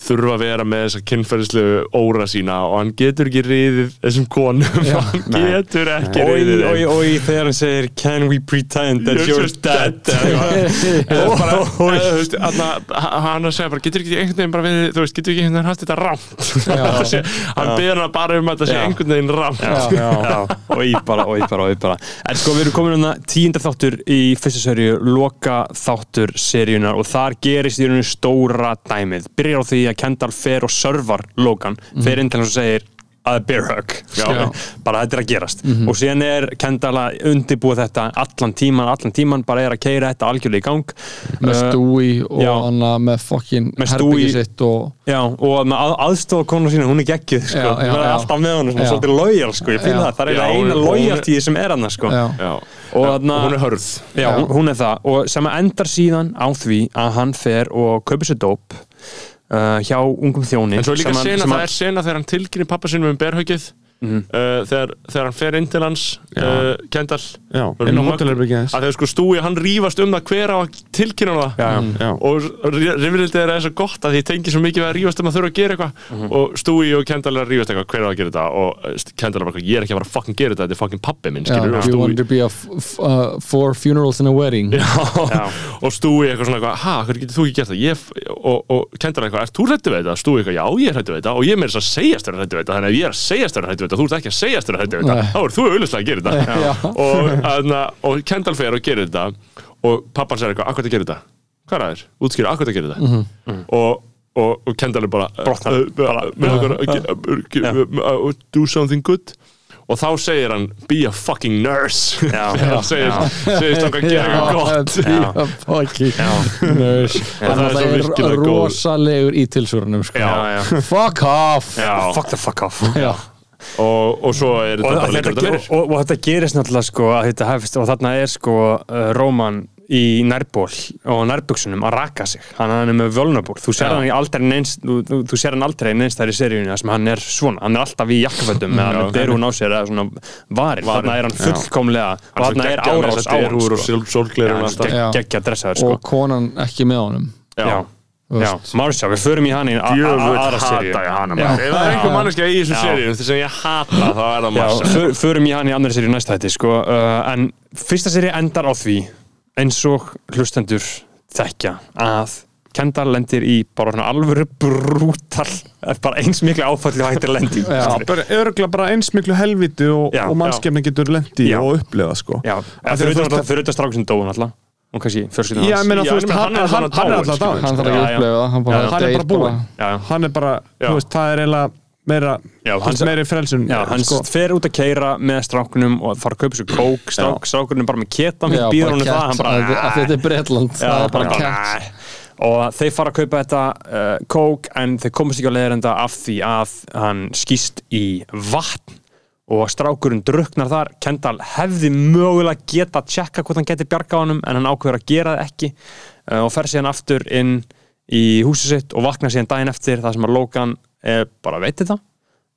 þurfa að vera með þessa kynferðislegu óra sína og hann getur ekki riðið þessum konum, hann getur ekki
Oi,
riðið
oi,
þeim
oi, þegar hann segir Can we pretend that
You're
you're
just
dead?
Eða bara, eða, þú veist, þarna- h- hann að segja bara, getur ekki einhvern veginn bara verið, þú veist, getur ekki einhvern veginn haft þetta rámt Þetta sé- hann beður hann bara um að þetta sé
Já.
einhvern veginn sko. rámt
Já.
Oi, bara, oi, bara, oi, bara En sko, við erum komin hérna tíundar þáttur í fyrsta serju, loka þáttur serjunar og þar gerist í rauninu stóra dæmið. Byrjar á því að Kendall fer og servar Logan, fer inn til hans og segir að bear hug
Mhm. Já. Mhm.
bara þetta er að gerast og síðan er Kendall að undibúa þetta allan tíman, allan tíman bara er að keira þetta algjörlega í gang
með
Eh,
stúi og
já.
hana með fokkin
Með
herbyggi
Stewie-
sitt og
Já, og með að, aðstofa konu sína, hún er geggjuð sko.
Já, já,
hún er
já.
alltaf með honum, svona
Já.
svolítið lojal sko. ég finn
Já.
það, það er
Já,
eiginlega
hún-
eina
hún-
lojaltíð sem er hann sko.
já,
Já.
og þarna,
hún er hörð
já, hún, hún er það og sem að endar síðan á því að hann fer og kaupir sér dóp uh, hjá ungum þjóni
en svo er
sem
líka
hann-
sena,
sem
það
hann-
er sena þegar hann tilkynir pappa sinum um berhaukið uh, þegar, þegar hann fer inn til hans uh, Kendall
Já,
Og
inn á
hún-
hótelherbergið hans.
að þegar sko stúi, hann rýfast um það hver á að tilkynna honum það
Já, já.
Já.
og rifrildið er aðeins svo gott að því tengi svo mikið við að rífast um að þurfa að gera eitthvað og Stúi og Kendall er að rífast eitthvað hver er að gera þetta og eh, Kendall er bara eitthvað, ég er ekki að fara að fucking gera þetta þetta er fucking pabbi minn,
já,
skilur
do
og
you
Stúi
want to be a f- f- uh, four funerals and a wedding
Já. og Stúi eitthvað svona eitthvað, ha, hvernig getur þú ekki gert það ég, og, og Kendall eitthvað, ert þú hrættu við þetta? Stúi eitthvað, já, ég er hrættu við þetta og ég meir þess að segjast þér hrættu við þetta, þannig að ef ég er að segjast þér hrættu við þetta, þú ert ekki að segjast þér hrættu við þetta
Nei.
þá er þú auðvitað að gera þetta
Já.
og, aðna, og Kendall fer og gerir þetta og pappan sér eitthvað, akkur það gerir þetta hvað er það þér? Útskýra, akkur það gerir þetta
Mhm.
og og, og Kendall er bara
Mhm. Brotnar.
uh, bara, með okkur að ge- uh, ge- uh, uh, do something good og þá segir hann be a fucking nurse
Já.
þegar hann segir, segir stokka að gera eitthvað gott
já, fokkin nös
það er
það
svo
er
virkilega góð.
rosalegur í tilsvörunum sko.
Já.
já, já.
fuck off
Já.
fuck the fuck off
Já.
og, og svo er
og, og,
þetta bara líka
þetta
þetta
ger,
fyrir
og, og þetta gerist náttúrulega sko að þetta hefist og þarna er sko uh, Róman í nærból og nærbuksunum að raka sig hann, hann er með völnaból, þú sér
Já.
hann í aldrei neins, þú, þú, þú sér hann aldrei neins þar í seríunni þar sem hann er svona, hann er alltaf í jakkafötum eða með derún á sér eða svona varin, þarna er hann fullkomlega og þarna er árás á hann
og
sko.
sólglerun og allt það.
gegn- Já.
geggja dressaður sko
og konan ekki með honum
já, já, Marsha, við förum í hann í a- a-
Djöfull
a- aðra
hata
seríu
ég hana maður. Ef það er einhver manneskja í þessu
Já.
seríu sem ég hata þá er það
Já,
massa
för, förum í hann í annari serið næsta hætti sko. uh, en fyrsta serið endar á því eins og hlustendur þekkja að Kendall lendir í bara svona alvöru brútal eh, bara eins mikla áfalli og hættir lendir
Já.
bara örgla bara eins miklu helviti og,
Já,
og mannskefni getur lendi
Já.
og upplefa sko
Já,
Af
eða
því að
fyrir
þú
utan-
veist
fyrir auðvitað strákinn dóun alltaf og kannski fjölskyldan
Já, ég meina,
Já,
þú
en
veist,
ég meina,
hann,
hann er
hann,
alveg
hann er
dáinn,
alltaf
sko.
dáinn
hann
sko.
þarf ekki
Já,
að
já.
upplega það hann
Já,
bara,
hann er
deyr
bara búinn
Já.
hann er bara,
Já.
þú veist, það er eiginlega meira,
Já,
þú
hann-
veist, meiri frelsun
Já, hann
sko.
fer út að keira með strákunum og fara að kaupa sér kók strák, strákunum bara með ketam,
Já,
býður
bara
honum það
cat,
hann bara, "Ah."
að- að þetta er Bretland það er bara cat
nei. og þeir fara að kaupa þetta uh, kók en þeir komast ekki á leiðarenda af því að hann skýst í vatn og strákurinn druknar þar Kendall hefði mögulega geta að tjekka hvort hann geti bjarga honum en hann ákveður að gera það ekki uh, og fer síðan aftur inn í húsið sitt og vaknar síðan daginn eftir þar sem að Logan eh, bara veitir það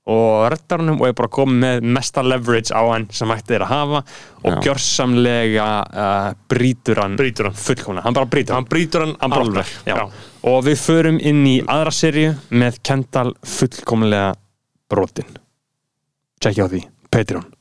og reddar hann og er bara komið með mesta leverage á hann sem hægt er að hafa og
Já.
gjörsamlega uh, brýtur hann
Brýtur hann.
fullkomna, hann bara brýtur
hann brýtur hann, hann
brotnar.
alveg
Já. og við förum inn í aðra serju með Kendall fullkomlega brotinn tjekkja á því, Patreon